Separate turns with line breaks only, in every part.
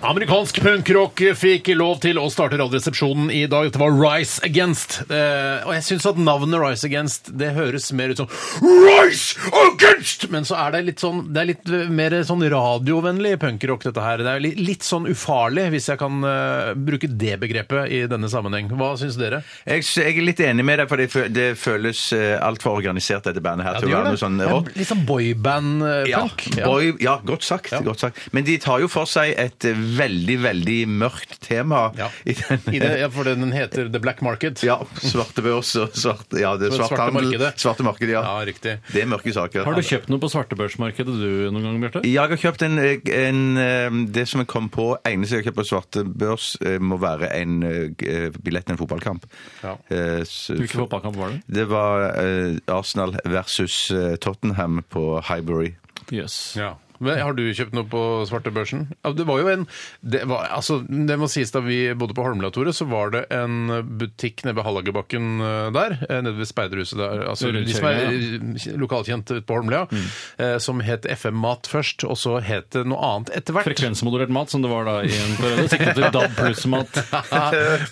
Amerikansk punkrock fikk lov til å starte Radioresepsjonen i dag. Dette var Rise Against. Eh, og jeg syns at navnet Rise Against det høres mer ut som Rise Against! Men så er det litt sånn Det er litt mer sånn radiovennlig punkrock, dette her. Det er litt, litt sånn ufarlig, hvis jeg kan eh, bruke det begrepet i denne sammenheng. Hva syns dere?
Jeg, s- jeg er litt enig med deg, for det, fø- det føles eh, altfor organisert, dette bandet her. til å være noe sånn
Det er
rått.
Litt sånn eh,
Ja,
boyband-punk.
boy, ja godt, sagt, godt sagt. Men de tar jo for seg et eh, veldig, veldig mørkt tema.
Ja.
I den,
I det, ja, for den heter The Black Market.
ja, svarte børs og svart, ja, det,
Det
svart
svarte
handel.
markedet.
Svarte markedet, ja.
Ja, riktig.
Det er mørke saker.
Har du kjøpt noe på svartebørsmarkedet du noen gang, Bjarte?
Jeg har kjøpt en, en eh, Det som jeg kom på eneste jeg har kjøpt på svarte børs, eh, må være en eh, billett til en fotballkamp.
Ja.
Eh, så-
Hvilken fotballkamp var det?
Det var eh, Arsenal versus eh, Tottenham på Highbury.
Jøss.
Ja. Men har du kjøpt noe på svartebørsen? Ja, Det var jo en det, var, altså, det må sies da vi bodde på Holmlia, Tore, så var det en butikk nede ved Hallagerbakken eh, der, eh, nede ved speiderhuset der, altså
Rundt
de som er
kjøringen,
eh, lokalkjent ute på Holmlia,
Mm.
eh, som het FM-mat først, og så het det noe annet etter hvert.
Frekvensmodulert mat, som det var da i en periode. Siktet til DAB pluss-mat.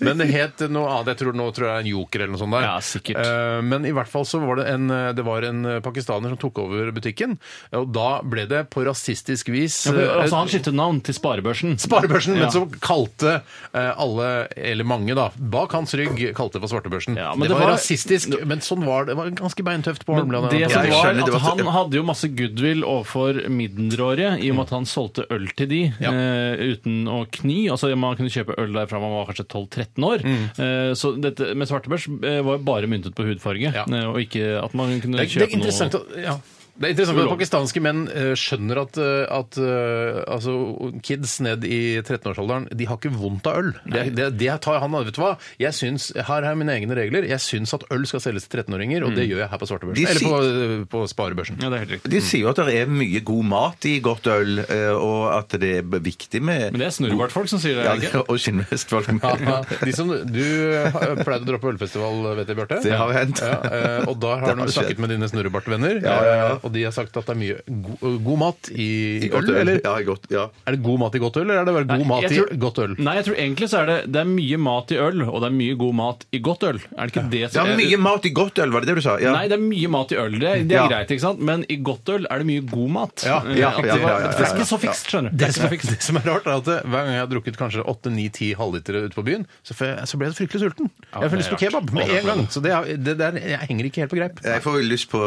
Men det het noe annet. Jeg tror, nå tror jeg det er en joker eller noe sånt der.
Ja, sikkert.
Eh, Men i hvert fall så var det en, eh, det var en eh, pakistaner som tok over butikken, og da ble det på rasistisk vis
Ja, for,
eh,
altså, han skiftet navn til Sparebørsen.
Sparebørsen,
Ja.
men som kalte eh, alle, eller mange da, bak hans rygg, kalte det for svartebørsen.
Ja, men
det,
det
var
var-
rasistisk, men sånn var det. Det var ganske beintøft på
Men
Holmlia.
det
da.
som
jeg
var,
skjønner, det
at
var-
han hadde jo masse goodwill overfor mindreårige, i og med at han solgte øl til de
Ja.
eh, uten å kni. Altså Man kunne kjøpe øl der fra man var kanskje 12-13 år. Eh, så dette med svartebørs eh, var jo bare myntet på hudfarge,
Ja.
eh, og ikke at man kunne
Det, er- det er
kjøpe
interessant
noe
at, ja. Det er interessant at pakistanske menn eh, skjønner at, eh, at eh, altså, kids ned i 13-årsalderen de har ikke vondt av øl. Det, det, det tar han Vet du hva? Jeg syns, her er mine egne regler. Jeg syns at øl skal selges til 13-åringer,
Mm.
og det gjør jeg her på
De
svartebørsen. Eller på, eh, på sparebørsen.
Ja, det er helt riktig.
De sier jo at det er mye god mat i godt øl, eh, og at det er b- viktig med
Men det er snurrebartfolk som sier det.
Ja,
ikke?
det- og skinnvestfolk.
Ja, de som, du eh, pleide å dra på ølfestival, vet jeg, Bjarte.
Det har hendt.
Ja, eh, og da
Det
har
har
du snakket
skjedd.
med dine snurrebartvenner,
Ja, ja, ja.
eh, og de har sagt at det er mye go god mat i,
I
i
godt
øl, eller?
Ja, i godt, ja.
Er det god mat i godt øl, eller er det bare god
Nei,
mat
jeg tror-
i godt øl?
Nei, jeg tror egentlig så er det, det er mye mat i øl, og det er mye god mat i godt øl. Er det ikke det
Det
som
er mye mat i godt øl, var det det du sa? Ja.
Nei, det er mye mat i øl. Det, det er
Ja.
greit, ikke sant? Men i godt øl er det mye god mat.
Ja,
Eh,
ja,
at det
ja,
var-
ja, ja,
Det er
ja.
ikke så fikst, skjønner du.
Det som, er, det som er rart, er at eh, hver gang jeg har drukket kanskje 8-9-10 halvlitere ute på byen, så, får jeg, så blir jeg fryktelig sulten. jeg får lyst på kebab med en gang. Så det, er- det der jeg henger ikke helt på greip.
Jeg får jo lyst på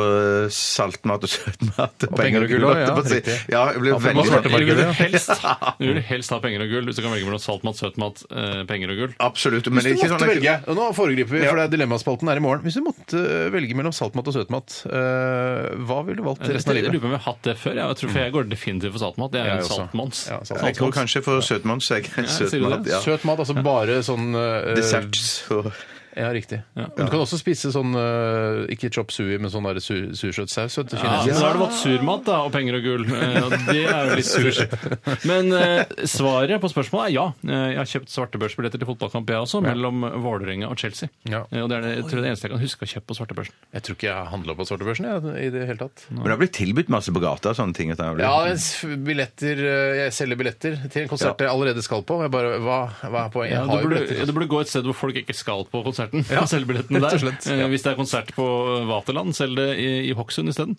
saltmat og søtmat. Og
penger og gull,
holdt jeg
ja,
på å si.
riktig.
Ja, jeg ble
Ja, for
veldig
man svarte
Du vil,
ja.
helst, du vil helst ha penger og gull hvis du kan velge mellom saltmat, søtmat, eh, penger og gull.
Absolutt. Men
Hvis du
ikke
måtte
sånn at-
velge, og nå foregriper vi,
Ja.
for det er Dilemmaspalten er i morgen. Hvis du måtte eh, velge mellom saltmat og søtmat, eh, hva ville du valgt
Jeg
resten av
lurer
livet?
på om jeg har hatt det før. Jeg tror for jeg går definitivt for saltmat. Jeg er
Jeg
en
også.
saltmons.
Ja, saltmat.
Jeg tror kanskje for søtmat, så jeg
sier du
søtmat.
det?
Ja.
Søt mat, altså bare sånn eh,
Desserts og
Ja, riktig. Men du kan også spise sånn eh, ikke chop sui, men sånn der sur, sursøtsaus. vet du,
Ja,
kinesisk.
men da har det vært surmat da, og penger og gull. Eh, og Det er jo litt surt. Men eh, svaret på spørsmålet er ja. Eh, Jeg har kjøpt svartebørsbilletter til fotballkamp, jeg også, mellom Vålerenga og Chelsea.
Ja.
Eh, Og det er det, jeg tror det eneste jeg kan huske å kjøpe på svartebørsen.
Jeg tror ikke jeg har handla på svartebørsen jeg, i det hele tatt.
Men det har blitt tilbudt masse på gata og sånne ting. at det har blitt-
Ja, s- billetter, eh, jeg selger billetter til en konsert jeg allerede skal på. og Jeg bare, hva, hva er poenget?
Ja,
Jeg
du,
har jo
Eh, burde,
billetter.
ja, du burde gå et sted hvor folk ikke skal på konserten. og selge billettene
rett
der.
og slett,
Eh,
ja.
Hvis det er konsert på eh, Vaterland, selg det i, i Hokksund isteden.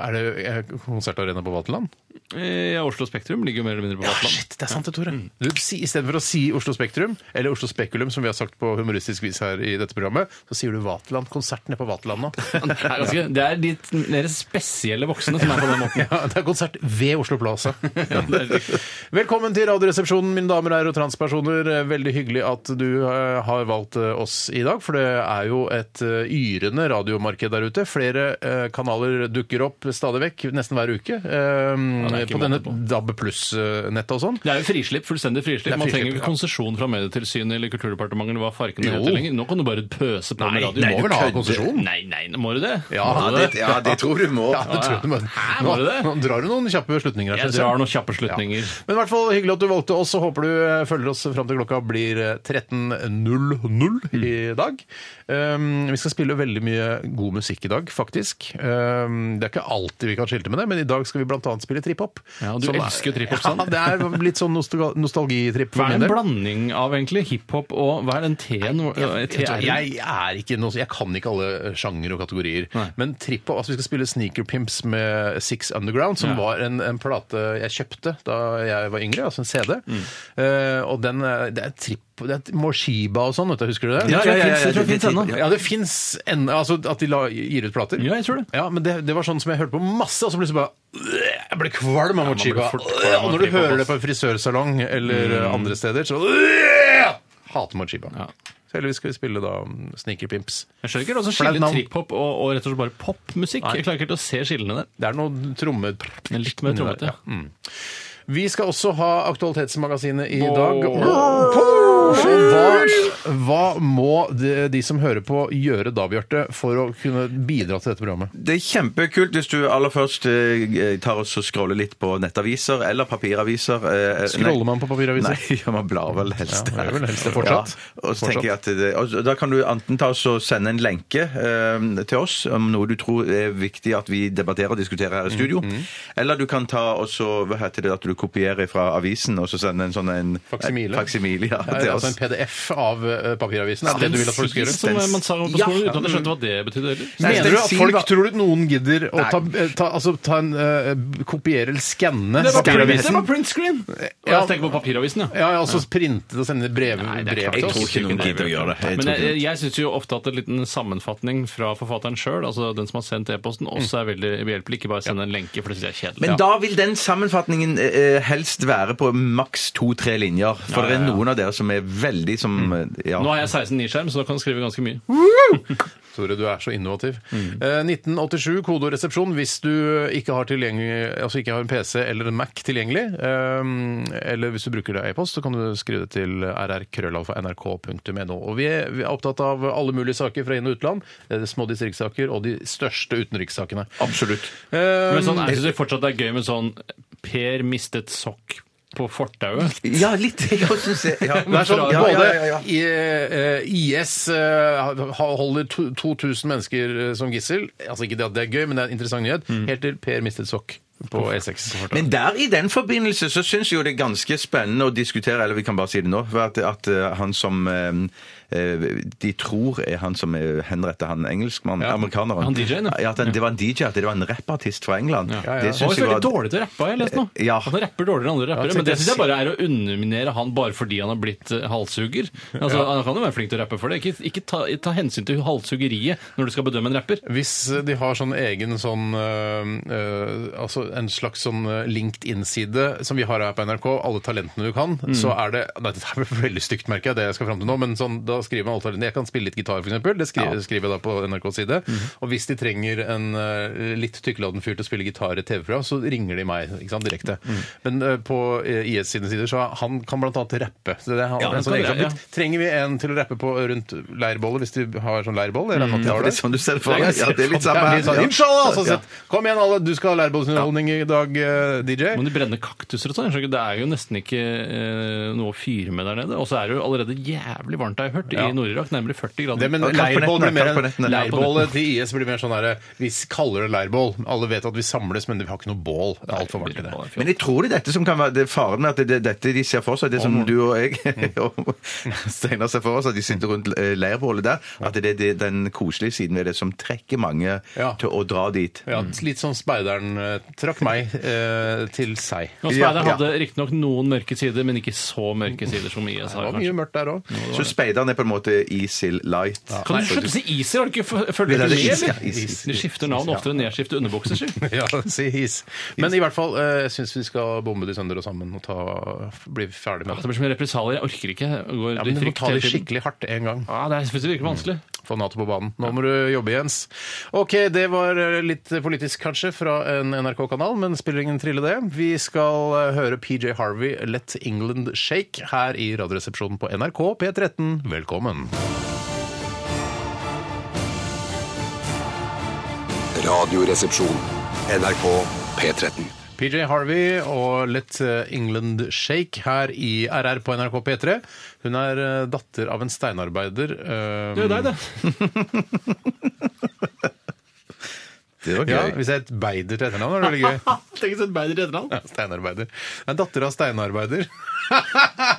Er det eh, konsertarena på Vaterland?
Eh, Ja, Oslo Spektrum ligger jo mer eller mindre på Vaterland.
Ah, Shit, det er sant det,
Mm.
Tore. Du, si, I stedet for å si Oslo Spektrum, eller Oslo Spekulum, som vi har sagt på humoristisk vis her i dette programmet, så sier du Vaterland. Konsert nede på Vaterland nå.
Det er, ganske, det er de mer spesielle voksne som er på den måten.
Ja, det er konsert ved Oslo Plaza.
det er riktig.
Velkommen til Radioresepsjonen, mine damer og herrer og transpersoner. Eh, Veldig hyggelig at du eh, har valgt eh, oss i dag, for det er jo et eh, yrende radiomarked der ute. Flere eh, kanaler dukker opp stadig vekk, nesten hver uke. Eh,
det er er
på
ikke
denne
måte på.
DAB pluss-nettet og sånn.
Det er jo frislipp,
Det
fullstendig frislipp.
er
Man
frislipp,
trenger jo ikke
ja.
konsesjon fra Medietilsynet eller Kulturdepartementet eller hva farken
Jo.
heter lenger. Nå kan du bare pøse på
Nei,
med radio.
nei, du
må vel ha
kødder.
konsesjon? Nei, nei, må du det?
Ja,
må du det?
Ja, det tror du må.
Ja, det tror jeg du må.
Hæ,
Nå,
var det det?
nå drar du noen kjappe slutninger. her,
Jeg
synes jeg.
drar noen kjappe slutninger.
Ja. Men i hvert fall hyggelig at du valgte oss, og håper du eh, følger oss fram til klokka blir eh, 13.00 i dag. Um, vi skal spille veldig mye god musikk i dag, faktisk. Um, det er ikke alltid vi kan skilte med det, men i dag skal vi bl.a. spille trip-hop.
Ja, du
Som er-
elsker trip-hop, sant?
Ja, det er litt sånn nostal- nostalgitripp. for
Hva er
min
det en
del.
blanding av egentlig hiphop og Hva er den T-en? Eh,
Jeg, tror-
T-R-en?
jeg er ikke noe, jeg kan ikke alle sjanger og kategorier.
Nei.
Men trip-hop altså Vi skal spille Sneaker Pimps med Six Underground, som
Ja.
var en, en plate jeg kjøpte da jeg var yngre, altså en CD.
Mm.
Eh, og den er- Det er trip det er Morshiba og sånn, vet du, husker du det?
Ja, ja, ja, ja, Jeg tror det finnes- jeg tror det finnes ennå.
Ja, det fins ennå. Altså at de la, gir ut plater.
Ja, jeg tror det.
Ja, men det, det var sånn som jeg hørte på masse, og så plutselig bare Jeg ble kvalm av Mochiba.
fort kvalm av
og når du
trip-hop,
hører det
ass.
på en frisørsalong eller eh, andre steder, så Hater Mochiba.
Ja.
Så heldigvis skal vi spille da mm, Sneaker Pimps.
Jeg skjønner ikke altså
For det er et
skille
navn.
trip-hop og, og rett og slett bare popmusikk.
Nei.
Jeg klarer ikke helt å se skillene der.
Det er noe tromme...
Men Litt mer trommete.
Ja. Mm. Vi skal også ha Aktualitetsmagasinet i
Wow.
dag. Og Hva, hva må de, de som hører på gjøre da, Bjarte, for å kunne bidra til dette programmet?
Det er kjempekult hvis du aller først eh, tar oss og scroller litt på nettaviser eller papiraviser. eh,
Scroller
nei.
man på papiraviser?
Nei, ja, man blar vel helst
Ja, man gjør vel helst det
Ja,
fortsatt.
og så
Fortsatt.
tenker jeg at det, og så- da kan du enten ta oss og sende en lenke eh, til oss om noe du tror er viktig at vi debatterer og diskuterer
Mm,
her i studio. Eller du kan ta og så, hva heter det, at du kopierer fra avisen og så sender en sånn en
Faksimile.
faksimile ja,
Det
til
er
oss.
altså en PDF av eh, papiravisen? Er det det du vil at folk skal gjøre?
Som eh, man sa på
Ja.
skolen uten at jeg skjønte hva det betydde heller.
Nei,
Mener du at
stencil,
folk
da.
tror du noen gidder å ta, eh, ta, altså, ta en eh, kopiere eller skanne
Det var print- det
papiravisen?
var print screen! Og
Ja.
jeg tenker på papiravisen, ja.
Ja, ja, altså printe det og sende brev, brev til
Jeg Mm, tror
oss.
ikke noen gidder å gjøre det. Jeg
Men
tror
jeg,
ikke
jeg, jeg syns jo ofte at en liten sammenfatning fra forfatteren sjøl, altså den som har sendt e-posten, også er veldig behjelpelig. Ikke bare sende en lenke, for det syns jeg er kjedelig.
Men
Ja.
da vil den sammenfatningen eh, helst være på maks to-tre linjer. For det er noen av dere som er veldig som eh, ja.
Nå har jeg 16 niskjerm, så da kan jeg skrive ganske mye.
Tore, du er så innovativ.
Mm.
Eh, 1987, kode og resepsjon. Hvis du ikke har, tilgjengelig- altså ikke har en PC eller en Mac tilgjengelig, eh, eller hvis du bruker det e-post, så kan du skrive det til rrkrøllalfa.nrk.no. Og vi er, vi er opptatt av alle mulige saker fra inn- og utland. Det er små distriktssaker og de største utenrikssakene.
Absolutt.
Eh,
Men sånn, jeg syns fortsatt det er gøy med sånn Per mistet sokk på fortauet.
Ja, litt. Jeg også synes jeg, ja.
Det er sånn,
ja,
både
ja, ja, ja.
I, eh, IS eh, ha- holder to- 2000 mennesker eh, som gissel. Altså Ikke det at det er gøy, men det er en interessant nyhet. Helt til Per mistet sokk på E E6.
Mm. Men der i den forbindelse så syns jeg jo det er ganske spennende å diskutere, eller vi kan bare si det nå, for at, at eh, han som eh, eh, de tror er han som eh, henrettet han engelskmannen,
Ja.
amerikaneren
Han DJ-en, ja.
ja. At han, det var en DJ, at det var en rappartist fra England.
Ja,
ja.
Det
Han
syns
var
jeg
veldig
var
dårlig til å rappe, har jeg lest nå.
Ja.
At Han rapper dårligere enn andre rappere,
tenkte
men det syns
jeg-
jeg bare er å underminere han bare fordi han har blitt eh, halshugger. Altså, Han kan jo være flink til å rappe for det. Ikke, ikke ta, ta hensyn til halshuggeriet når du skal bedømme en rapper.
Hvis de har sånn egen sånn eh, eh, Altså en slags sånn eh, LinkedIn-side som vi har her på NRK, alle talentene du kan,
Mm.
så er det Nei, det er veldig stygt, merker jeg, det jeg skal fram til nå, men sånn, da skriver man alle talentene. Jeg kan spille litt gitar, f.eks. Det skri, skriver jeg da på NRKs side.
Mhm.
Og hvis de trenger en eh, litt tykkeladen fyr til å spille gitar i et TV-program, så ringer de meg ikke sant, direkte.
Mm.
Men eh, på eh, IS sine sider så er- han kan blant annet rappe. Så det er, han,
Ja,
en
han
sånn
kan det,
egenskap. Trenger vi en til å rappe på rundt leirbollet, hvis de har sånn leirboll?
Mm.
eller noe de
Ja,
har
for
der?
det er sånn du ser det for
Ja,
deg. Ja, det er litt samme
det er litt sånn,
her. Ja.
Inshallah! sånn sett. Kom igjen, alle. Du skal ha lærbålsunderholdning i dag, eh, DJ.
Men de brenner kaktuser og sånn. jeg skjønner ikke, Det er jo nesten ikke eh, noe å fyre med der nede. Og så er det jo allerede jævlig varmt, har jeg hørt,
Ja.
i Nord-Irak. Nærmere 40 grader.
Det, men
Og klapp på
leirbål
nettene,
blir mer
klapp på
enn
nettene.
leirbålet til IS blir mer sånn herre Vi kaller det leirbål. Alle vet at vi samles, men vi har ikke noe bål. Det er altfor varmt i det.
Men jeg tror det er dette som kan være det er faren med at det er dette de ser for seg, det som du og jeg og Steinar ser for oss, at de sitter rundt eh, leirbålet der, at det er det- den koselige siden ved det som trekker mange
Ja.
til å dra dit.
Ja, litt sånn speideren eh, trakk meg eh, til seg.
Og
Ja,
Speideren
ja.
hadde riktignok noen mørke sider, men ikke så mørke sider som IS
Det
har.
var
kanskje.
mye mørkt der òg.
Så speideren er på en måte ISIL light.
Kan du slutte å si ISIL? Har du ikke f- følger
Det er det
ikke med,
is, ja,
eller?
is, is,
De skifter navn oftere enn jeg skifter underbukser, sier du.
Ja, si his. Men i hvert fall, eh, jeg syns vi skal bombe de sønder og sammen og ta, bli ferdig med
Det
det.
blir så mye represalier. Jeg orker ikke. Jeg går
Ja,
i
men du må
frykt
ta
hele
det
tiden.
skikkelig Mm. hardt en gang.
Ja, det er- jeg synes det virker vanskelig.
Få Nato på banen. Nå må du jobbe, Jens. OK, det var litt politisk, eh, kanskje, fra en NRK-kar. kanal, men spiller ingen trille det. Vi skal eh, høre PJ Harvey Let England Shake her i Radioresepsjonen på NRK P13. Velkommen.
Radioresepsjon. NRK P13.
PJ Harvey og Let eh, England Shake her i RR på NRK P3. Hun er eh, datter av en steinarbeider. eh,
Det er jo deg, det.
Det var gøy.
Ja, hvis jeg het Beider til etternavn, var det veldig gøy.
Tenk å sette beider i etternavn.
Ja, steinarbeider. Jeg er datter av steinarbeider. det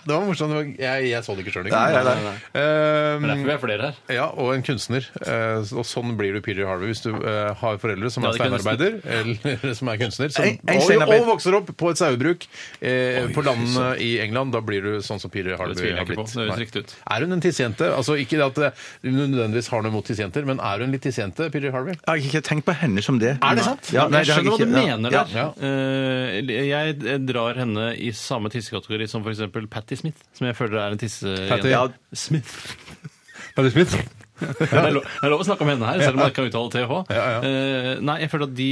var morsomt. det var- Jeg, jeg så det ikke sjøl engang.
Nei, nei,
Det er
Ehm,
derfor vi er flere her.
ja, og en kunstner. Eh, og sånn blir du PJ Harvey hvis du eh, har foreldre som
Ja,
er
det kunne
steinarbeider, eller som er kunstner, som,
En- en
og,
steinarbeider.
og vokser opp på et sauebruk eh,
Oi,
på landene i England. Da blir du sånn som PJ
Det
Harvey
tviler
har
jeg ikke på.
blitt.
Det høres
Nei.
riktig ut.
Er hun en tissejente? Altså, ikke det at det- hun nødvendigvis har noe mot tissejenter, men er hun litt tissejente, PJ Harvey?
Jeg har ikke tenkt på henne som det.
Er det sant?
Ja, nei, det
jeg
har
skjønner hva
jeg
du
ikke- ja.
mener
Ja.
der. Eh, jeg drar henne i samme tissekategori som f.eks. Patti Smith, som jeg føler er en
Patti-
tissejente.
Ja,
Smith.
Patti Smith?
Det er lov det er lov å snakke om henne her, selv om man ikke kan uttale TH.
Ja, ja.
Eh, nei, jeg føler at de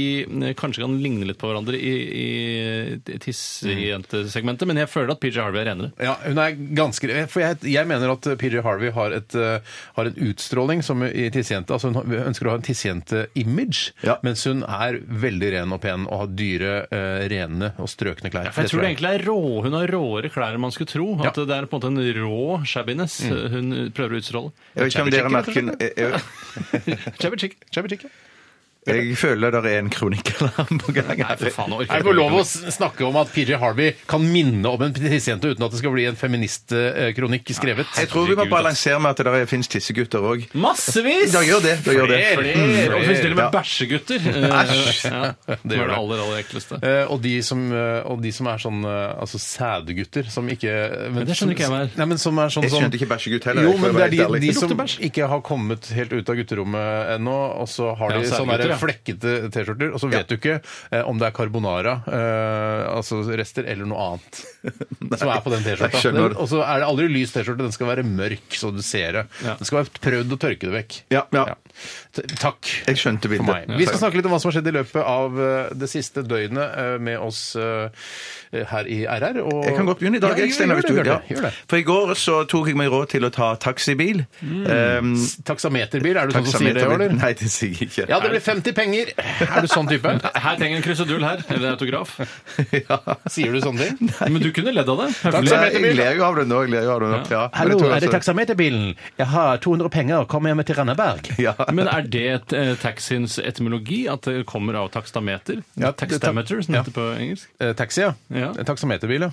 eh, kanskje kan ligne litt på hverandre i, i tissejentesegmentet, men jeg føler at PJ Harvey er renere.
Ja, hun er ganske For jeg, jeg mener at PJ Harvey har, et, eh, har en utstråling som i tissejente. Altså hun har- ønsker å ha en tissejente-image,
Ja.
mens hun er veldig ren og pen og har dyre, eh, rene og strøkne klær.
For jeg tror det egentlig er rå, Hun har råere klær enn man skulle tro. At
Ja.
det er på en måte en rå shabbiness hun prøver å utstråle.
Jeg vet ikke om dere merker jeg, jeg,
Shabby chick.
Shabby chick, ja.
jeg føler det er en kronikkalarm på gang.
Nei, for faen, jeg
Er
orker
det lov å snakke om at PJ Harvey kan minne om en tissejente uten at det skal bli en feministkronikk skrevet?
Jeg tror vi må balansere med at det fins tissegutter òg.
Massevis!
Da gjør det. Da gjør det. Mm.
Flere! Og finnes til og med
Ja.
bæsjegutter. Eh,
Æsj!
Ja, det
gjør
er
det.
det aller, aller ekleste.
Eh, og, de som, eh, og de som er sånn eh, altså sædgutter, som ikke men,
det skjønner ikke jeg hva er.
Nei, men som er sånn
Jeg
som-
skjønte ikke bæsjegutt heller,
Jo,
for
men
å
det
være
er de,
helt ærlig.
de
Det
som
lukter bæsj.
ikke har kommet helt ut av gutterommet ennå, og så har
Ja,
de sånne
sædgutter,
der
ja.
flekkete T-skjorter, og så vet du ikke eh, om det er carbonara, eh, altså rester, eller noe annet som er på den
jeg
T-skjorta.
skjønner.
Den- Og så er det aldri lys T-skjorte, den skal være mørk, så du ser det.
Ja.
Den skal være prøvd å tørke det vekk.
Ja, ja.
T- Takk
Jeg skjønte
for meg.
bildet.
Vi skal snakke litt om hva som har skjedd i løpet av eh, det siste døgnet eh, med oss eh, her i RR. Og...
Jeg kan godt begynne i dag.
Ja,
jeg, Steinar,
gjør,
hvis
det,
du vil.
gjør det.
Ja.
Gjør det.
For i går så tok jeg meg råd til å ta taxibil.
Mm.
Um,
Taksameterbil, er du sånn som sier det,
taksameter-
eller?
Nei, det sier jeg ikke.
Ja, det blir 50 penger! Er du sånn type?
Her trenger jeg en krusedull her, eller en autograf.
Sier du sånne ting?
Men du kunne ledd av det.
Ja,
Høflig.
jeg ler jo av det nå. Jeg ler jo av det nå. Ja. Men jeg tror altså-
taksameterbilen? Jeg har 200 penger, kom med meg til Randaberg.
Ja.
Men er det et, eh, taxiens etymologi? At det kommer av takstameter?
Ja, det-
Takstameter, som
ja.
det heter på engelsk.
Eh, taxi, ja.
Ja.
En Taksameterbil, ja.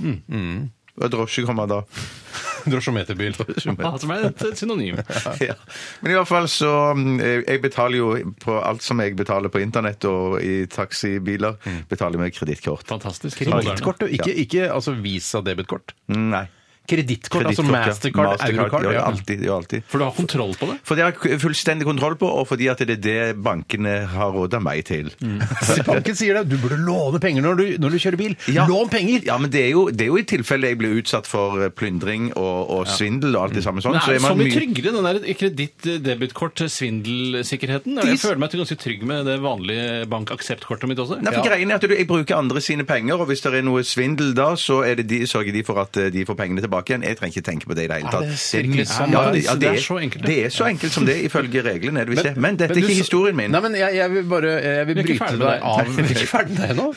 Og drosje kommer da.
Drosjometerbil.
Ja, Som er et et synonym.
Ja. Men i hvert fall så mm, Jeg betaler jo på alt som jeg betaler på internett og i taxibiler,
Mm.
betaler jeg med kredittkort.
Fantastisk. Moderne.
Kredittkort, du. Ikke, ikke altså Visa-debitkort.
Nei.
Kredittkort, altså
Kredittkort, ja.
Mastercard, Eurocard.
Ja, ja,
ja.
alltid. Ja, alltid.
For du har kontroll på det?
For det har jeg fullstendig kontroll på, og fordi at det er det bankene har råda meg til.
Banken sier det. Du burde låne penger når du, når du kjører bil.
Ja.
Lån penger!
Ja, men det er, jo, det er jo i tilfelle jeg blir utsatt for eh, plyndring og, og svindel og alt det samme sånn.
Men er det
man
så mye
mye-
tryggere, den der kreditt-debitkort-svindelsikkerheten? Jeg føler meg ganske trygg med det vanlige bank-aksept-kortet mitt også.
Nei, for
Ja.
greien er at du, Jeg bruker andre sine penger, og hvis det er noe svindel da, så er det de, sørger de for at eh, de får pengene tilbake igjen. Jeg trenger ikke tenke på det i det hele tatt.
det
er
virker
mye-
sånn.
ja, det, ja, det,
Det er
er,
så enkelt,
det er så enkelt som det, ifølge reglene. er det visst det. Men dette
Men du
er ikke
så-
historien min.
Nei, men jeg, jeg vil bare jeg vil
Vi er ikke
bryte
ferdig
deg
med deg.
av.
Nei,
Vi er ikke ferdig med deg ennå.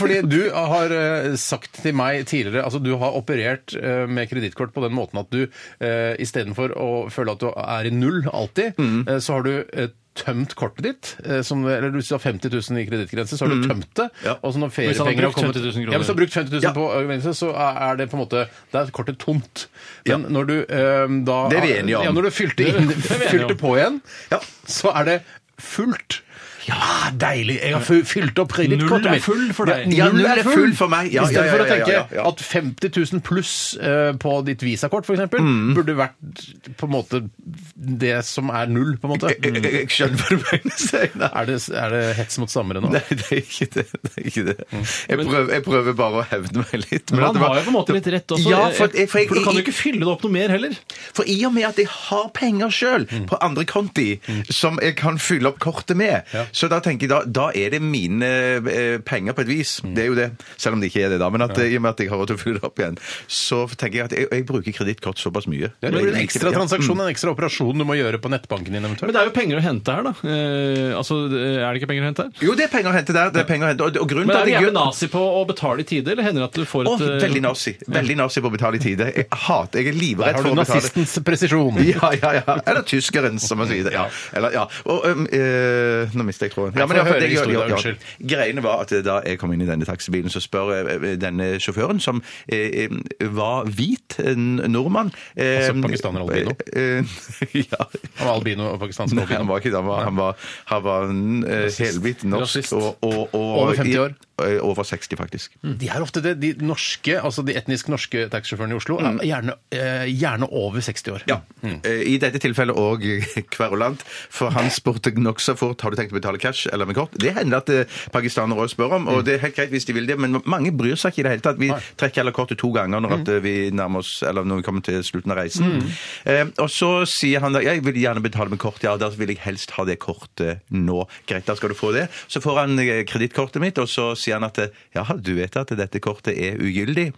Fordi du har eh, sagt til meg tidligere Altså, du har operert eh, med kredittkort på den måten at du eh, istedenfor å føle at du er i null alltid, eh, så har du eh, tømt kortet ditt, eh, som, eller hvis du har 50 000 i kredittgrense, så har du tømt det.
Ja.
Og så når
Hvis han har
feriepenger har
brukt
kommet
50 000 kroner.
Ja, hvis du har brukt 50 000
Ja.
på øyeblikket, så eh, er det på en måte Da er kortet tomt. Men når du eh, da
Det er vi enige om.
Ja, når du fylte, inn,
Det er vi enige om.
fylte på igjen,
Ja.
så er det fullt. Ja,
Ah,
deilig! Jeg har fy- fylt opp
Null
kredittkortet
er
mitt.
full for deg.
Ja, null er full for meg. Ja,
I stedet
ja,
for å
ja, ja,
tenke
ja, ja.
at 50 000 pluss eh, på ditt visakort, f.eks., eksempel
Mm.
burde vært på en måte det som er null, på en måte.
Jeg, jeg, jeg skjønner hva du mener, Steinar.
Er det, er det hets mot sammere nå?
Nei, det er ikke det. det, er ikke det. Jeg, prøver, jeg prøver bare å hevne meg litt. men at
Mm. Men
det
han
var-
har jo på en måte litt rett også.
Ja, for, jeg, for, jeg,
du kan jo ikke fylle det opp noe mer heller.
for i
Mm.
og med at jeg har penger sjøl på andre konti som jeg kan fylle opp kortet med, Så da tenker jeg, da, da er det mine eh, penger på et vis.
Mm.
Det er jo det. Selv om det ikke er det, da. Men at, eh, i og med at jeg har råd til å fylle det opp igjen, så tenker jeg at jeg, jeg bruker kredittkort såpass mye.
Det blir en
Jeg-
ekstra
ja. Mm.
transaksjon, en ekstra operasjon du må gjøre på nettbanken din eventuelt.
Men det er jo penger å hente her, da. Eh, altså, Er det ikke penger å hente her?
Jo, det er penger å hente der. det er penger å hente, og, og grunnen
Men
til
er
at
du
jeg
jævlig
gjør...
nazi på å betale i tide, eller hender det at du får
Å,
et eh,
veldig nazi. Veldig nazi på å betale i tide. Jeg hater, jeg er
Der
livredd
har
for
du
å betale.
nazistens presisjon.
Ja, ja, ja. Eller tyskeren, som man sier. Ja. Eller, ja. Og, øhm, øh, nå mister jeg tråden. Ja,
Få høre
jeg-
historien,
ja, ja.
unnskyld.
Greiene var at eh, da jeg kom inn i denne taxibilen, så spør jeg eh, denne sjåføren, som eh, var hvit, en nordmann eh,
Altså pakistaner albino?
eh, ja.
Han var albino og pakistansk
Nei, han
albino.
var ikke det. Han var, han var, han var eh, helhvit norsk.
Rasist.
Og, og, og,
Over 50 år?
eh, Over 60, faktisk.
De er ofte det, de norske, altså de etnisk norske taxisjåførene i Oslo er gjerne, eh, gjerne over 60 år.
Mm. Ja. Eh, I dette tilfellet òg kverulant. For han spurte nokså fort har du tenkt å betale cash eller med kort. Det hender at eh, pakistanere òg spør
Mm.
om, og det er helt greit hvis de vil det, men mange bryr seg ikke i det hele tatt. Vi trekker heller kortet to ganger
Mm.
når at eh, vi nærmer oss, eller når vi kommer til slutten av reisen. Eh, og så sier han da jeg vil gjerne betale med kort, ja, da vil jeg helst ha det kortet nå. Greit, da skal du få det. Så får han eh, kredittkortet mitt, og så sier han at eh, ja, du vet at dette kortet er ugyldig.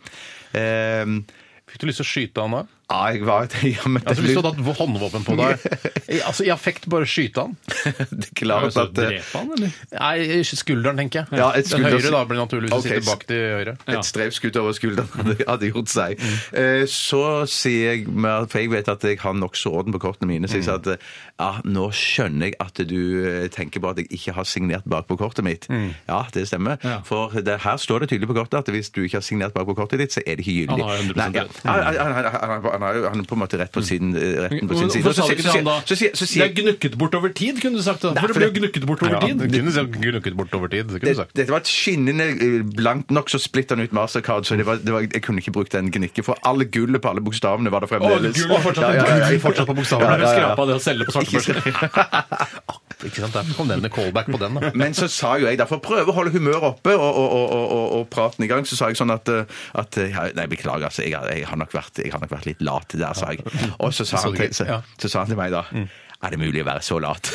Eh,
Fikk du lyst til å skyte han da?
ja, jeg var ja, men det
Altså, hvis
blir-
du hadde hatt håndvåpen på deg i, altså, I affekt, bare skyte han?
Det er klart
altså,
at eh,
Drepe han, eller?
Nei, skulderen, tenker jeg.
Ja, et skulder-
Den høyre da blir naturligvis å
Ok,
sitte bak til høyre.
Ja.
et strevskudd over skulderen hadde- hadde gjort seg. Eh, Så sier jeg mer, for jeg vet at jeg har nokså orden på kortene mine, så jeg sa
Mm.
at eh, ja, nå skjønner jeg at du eh, tenker på at jeg ikke har signert bakpå kortet mitt. Ja, det stemmer.
Mm. Ja.
For det, her står det tydelig på kortet at hvis du ikke har signert bakpå kortet ditt, så er det ikke gyldig.
Han har jo 100%
Nei, ja.
rett.
han, han, han, han, han, har jo- han er på en måte rett på sin, eh, retten på sin side.
Hvorfor sa
Og så
du ikke
sier-
til han da?
så sier- så
det
sier-
er gnukket bort over tid, kunne du sagt. da. For det ble jo gnukket bort over
Ja,
tid.
du kunne sagt gnukket bort over tid. Det kunne du
det,
sagt.
dette var et skinnende eh, blankt nok, så splitter han ut Mastercard. Så det var, det var, jeg kunne ikke brukt den gnikke, for alle gullet på alle bokstavene var der fremdeles.
gullet er fortsatt-
gullet er fortsatt på bokstavene.
Ja, ja, ja.
Skrapa det å selge på svartebørsen.
Ikke sant? Der kom den med callback på den. da.
Men så sa jo jeg, derfor prøve å holde humøret oppe og, og, og, og, og, og praten i gang, så sa jeg sånn at, eh, at eh, Nei, beklager, altså. Jeg, har- jeg, har nok vært, jeg har nok vært litt lat der, sa jeg. Og så sa,
Så
han,
du
til,
ikke?
så,
Ja.
så sa han til meg da Er det mulig å være så lat?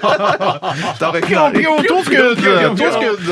da var jeg klar.
To skudd! To skudd!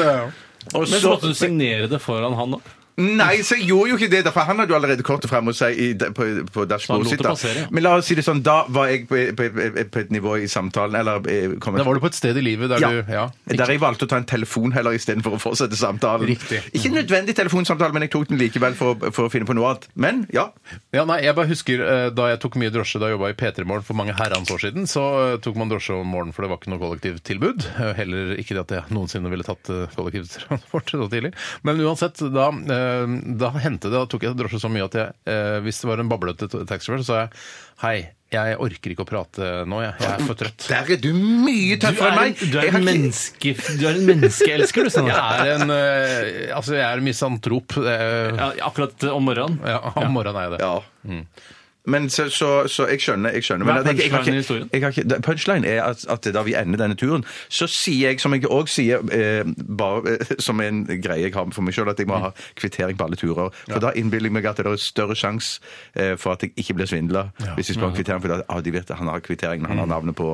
Og
Men så
så-
måtte du signere det foran han òg.
Nei, så jeg gjorde jo ikke det. da, For han hadde jo allerede kortet frem hos seg i, på, på
han lot
dashbordet sitt.
det
da.
passere, ja.
Men la oss si det sånn, da var jeg på, på, på, på et nivå i samtalen eller eh, kom
Da var du på et sted i livet der
ja.
du Ja.
Der jeg valgte å ta en telefon heller istedenfor å fortsette samtalen.
Riktig.
Ikke nødvendig telefonsamtale, men jeg tok den likevel for, å- for å finne på noe annet. Men ja.
Ja, nei, jeg bare husker eh, Da jeg tok mye drosje da jeg jobba i P3 Morgen for mange herrens år siden, så eh, tok man drosje om morgenen, for det var ikke noe kollektivtilbud. Eh, Heller ikke det at jeg noensinne ville tatt eh, kollektivtransport så tidlig. Men uansett, da, eh, da hendte det Da tok jeg drosje så mye at jeg, eh, hvis det var en bablete t- taxisjåfør, så sa jeg hei, jeg orker ikke å prate nå, jeg. Jeg er for trøtt.
Der er du mye tøffere enn meg! Jeg har ikke-
menneske, du er en menneskeelsker, du,
Jeg
Steinar.
er en eh, Altså, jeg er misantrop. eh,
Ja, akkurat om morgenen.
Ja, om morgenen er jeg det.
Ja. Mm. Men så, så, så jeg skjønner. jeg skjønner.
Hva er
Men at jeg- jeg har
punchline i
ikke-
historien?
jeg har ikke- det- Punchline er at, at da vi ender denne turen, så sier jeg, som jeg òg sier, eh, bare eh, som en greie jeg har for meg sjøl, at jeg
Mm.
må ha kvittering på alle turer. For da innbiller jeg meg at det er større sjanse eh, for at jeg ikke blir svindla hvis jeg spør om kvittering. For da, ah, de vet at han har kvittering, men han har
Mm.
navnet på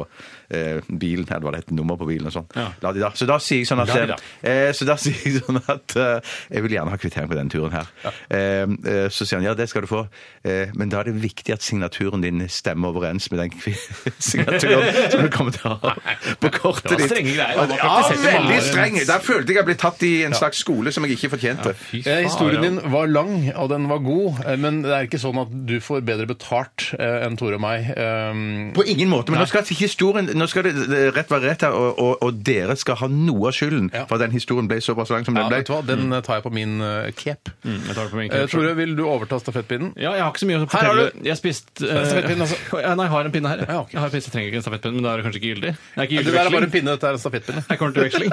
eh, bilen, eller var det et nummer på bilen og sånn.
Ja.
La de da. Så da sier jeg sånn at,
La de da.
eh, så da sier jeg sånn at eh, jeg vil gjerne ha kvittering på denne turen her. Eh, eh, så sier han ja, det skal du få, eh, men da er det viktig at signaturen din stemmer overens med den kvi- signaturen som du kommer til å ha på kortet
Det var
ditt.
strenge greier.
Ja,
Han har praktisert i mange
veldig
år.
streng. Der følte jeg jeg ble tatt i en slags skole som jeg ikke fortjente.
Eh, Historien din var lang, og den var god, eh, men det er ikke sånn at du får bedre betalt eh, enn Tore og meg. Um,
På ingen måte, men nå skal, ikke historien, nå skal det det- rett være rett her, og, og, og dere skal ha noe av skylden
Ja.
for at den historien ble såpass lang som
ja,
den ble.
vet du hva? Den eh, tar jeg på min eh, cape.
Jeg tar det på
Eh,
min knapp selv.
Tore, vil du overta stafettpinnen?
Ja, jeg har ikke så mye
Her
å
har
fortelle. Jeg spiste eh,
Stafettpinn, altså.
ja, Nei, jeg har en pinne her.
Ja, ok.
Jeg, har en pinne, så jeg trenger ikke en stafettpinne, men da er det kanskje ikke gyldig. Det er ikke
Det
gyldig
der er bare en
veksling.
pinne, dette er en stafettpinne.
Jeg kommer til veksling.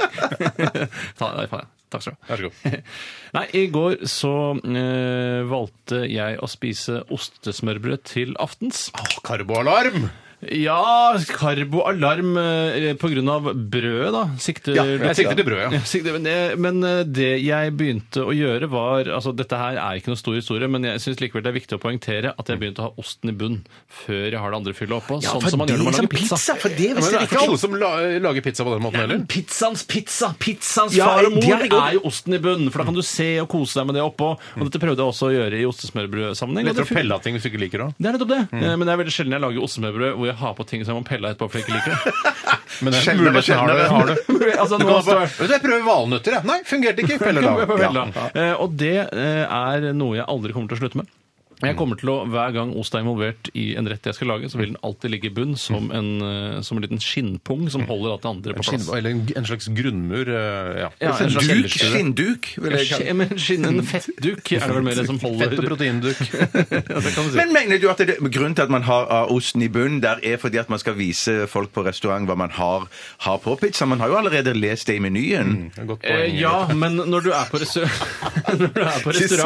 Ta, nei, faen. Takk skal du ha.
Vær så god.
Nei, i går så eh, valgte jeg å spise ostesmørbrød til aftens.
Karboalarm!
Ja, karboalarm eh, på grunn av brødet, da. Sikter
Ja,
du-
jeg sikter til brødet, ja.
sikter- men det- Men eh, det jeg begynte å gjøre var altså Dette her er ikke noe stor historie, men jeg syns likevel det er viktig å poengtere at jeg begynte å ha osten i bunn før jeg har det andre fyllet oppå. sånn som man gjør når man lager pizza.
for det
Men det
visste
er
jeg
ikke alle
ikke.
som la, eh, lager pizza på den måten heller.
Pizzaens pizza! Pizzaens
Ja,
far og mor
det er
er,
godt.
jo osten i bunn, for da kan du se og kose deg med det oppå. Og dette prøvde jeg også å gjøre i ostesmørbrødsammenheng. og
Lettere å
det fun-
pelle av ting hvis du ikke liker det.
Det er nettopp det.
Mm.
Eh, Men det er veldig sjelden jeg lager ostemørbrød hvor jeg har på ting som jeg må pelle av etterpå fordi jeg ikke liker det.
Men den
Sjeldnere,
muligheten har du.
sjeldnere.
Har du.
Altså,
Du
nå
kan
står-
bare, vet du, jeg prøver valnøtter, jeg. Nei, fungerte ikke. Peller det av.
Ja. Eh, Og det eh, er noe jeg aldri kommer til å slutte med. Jeg kommer til å, Hver gang ost er involvert i en rett jeg skal lage, så vil den alltid ligge i bunn som en, eh, som en liten skinnpung som holder alt det andre på plass.
Skinn- Eller en, en slags grunnmur. eh, Ja.
Ja, en slags
Duk,
kjellerstue.
skinnduk, vil jeg kalle det.
Skje- men skinn- En fettduk er det vel mer det som
Fett- og
holder
proteinduk.
Men mener du at det, grunnen til at man har ah, osten i bunnen der, er fordi at man skal vise folk på restaurant hva man har, har på pizza? Man har jo allerede lest det i menyen.
Godt
Eh,
poeng.
ja, men når du er på, restau- når du er på
synes jeg på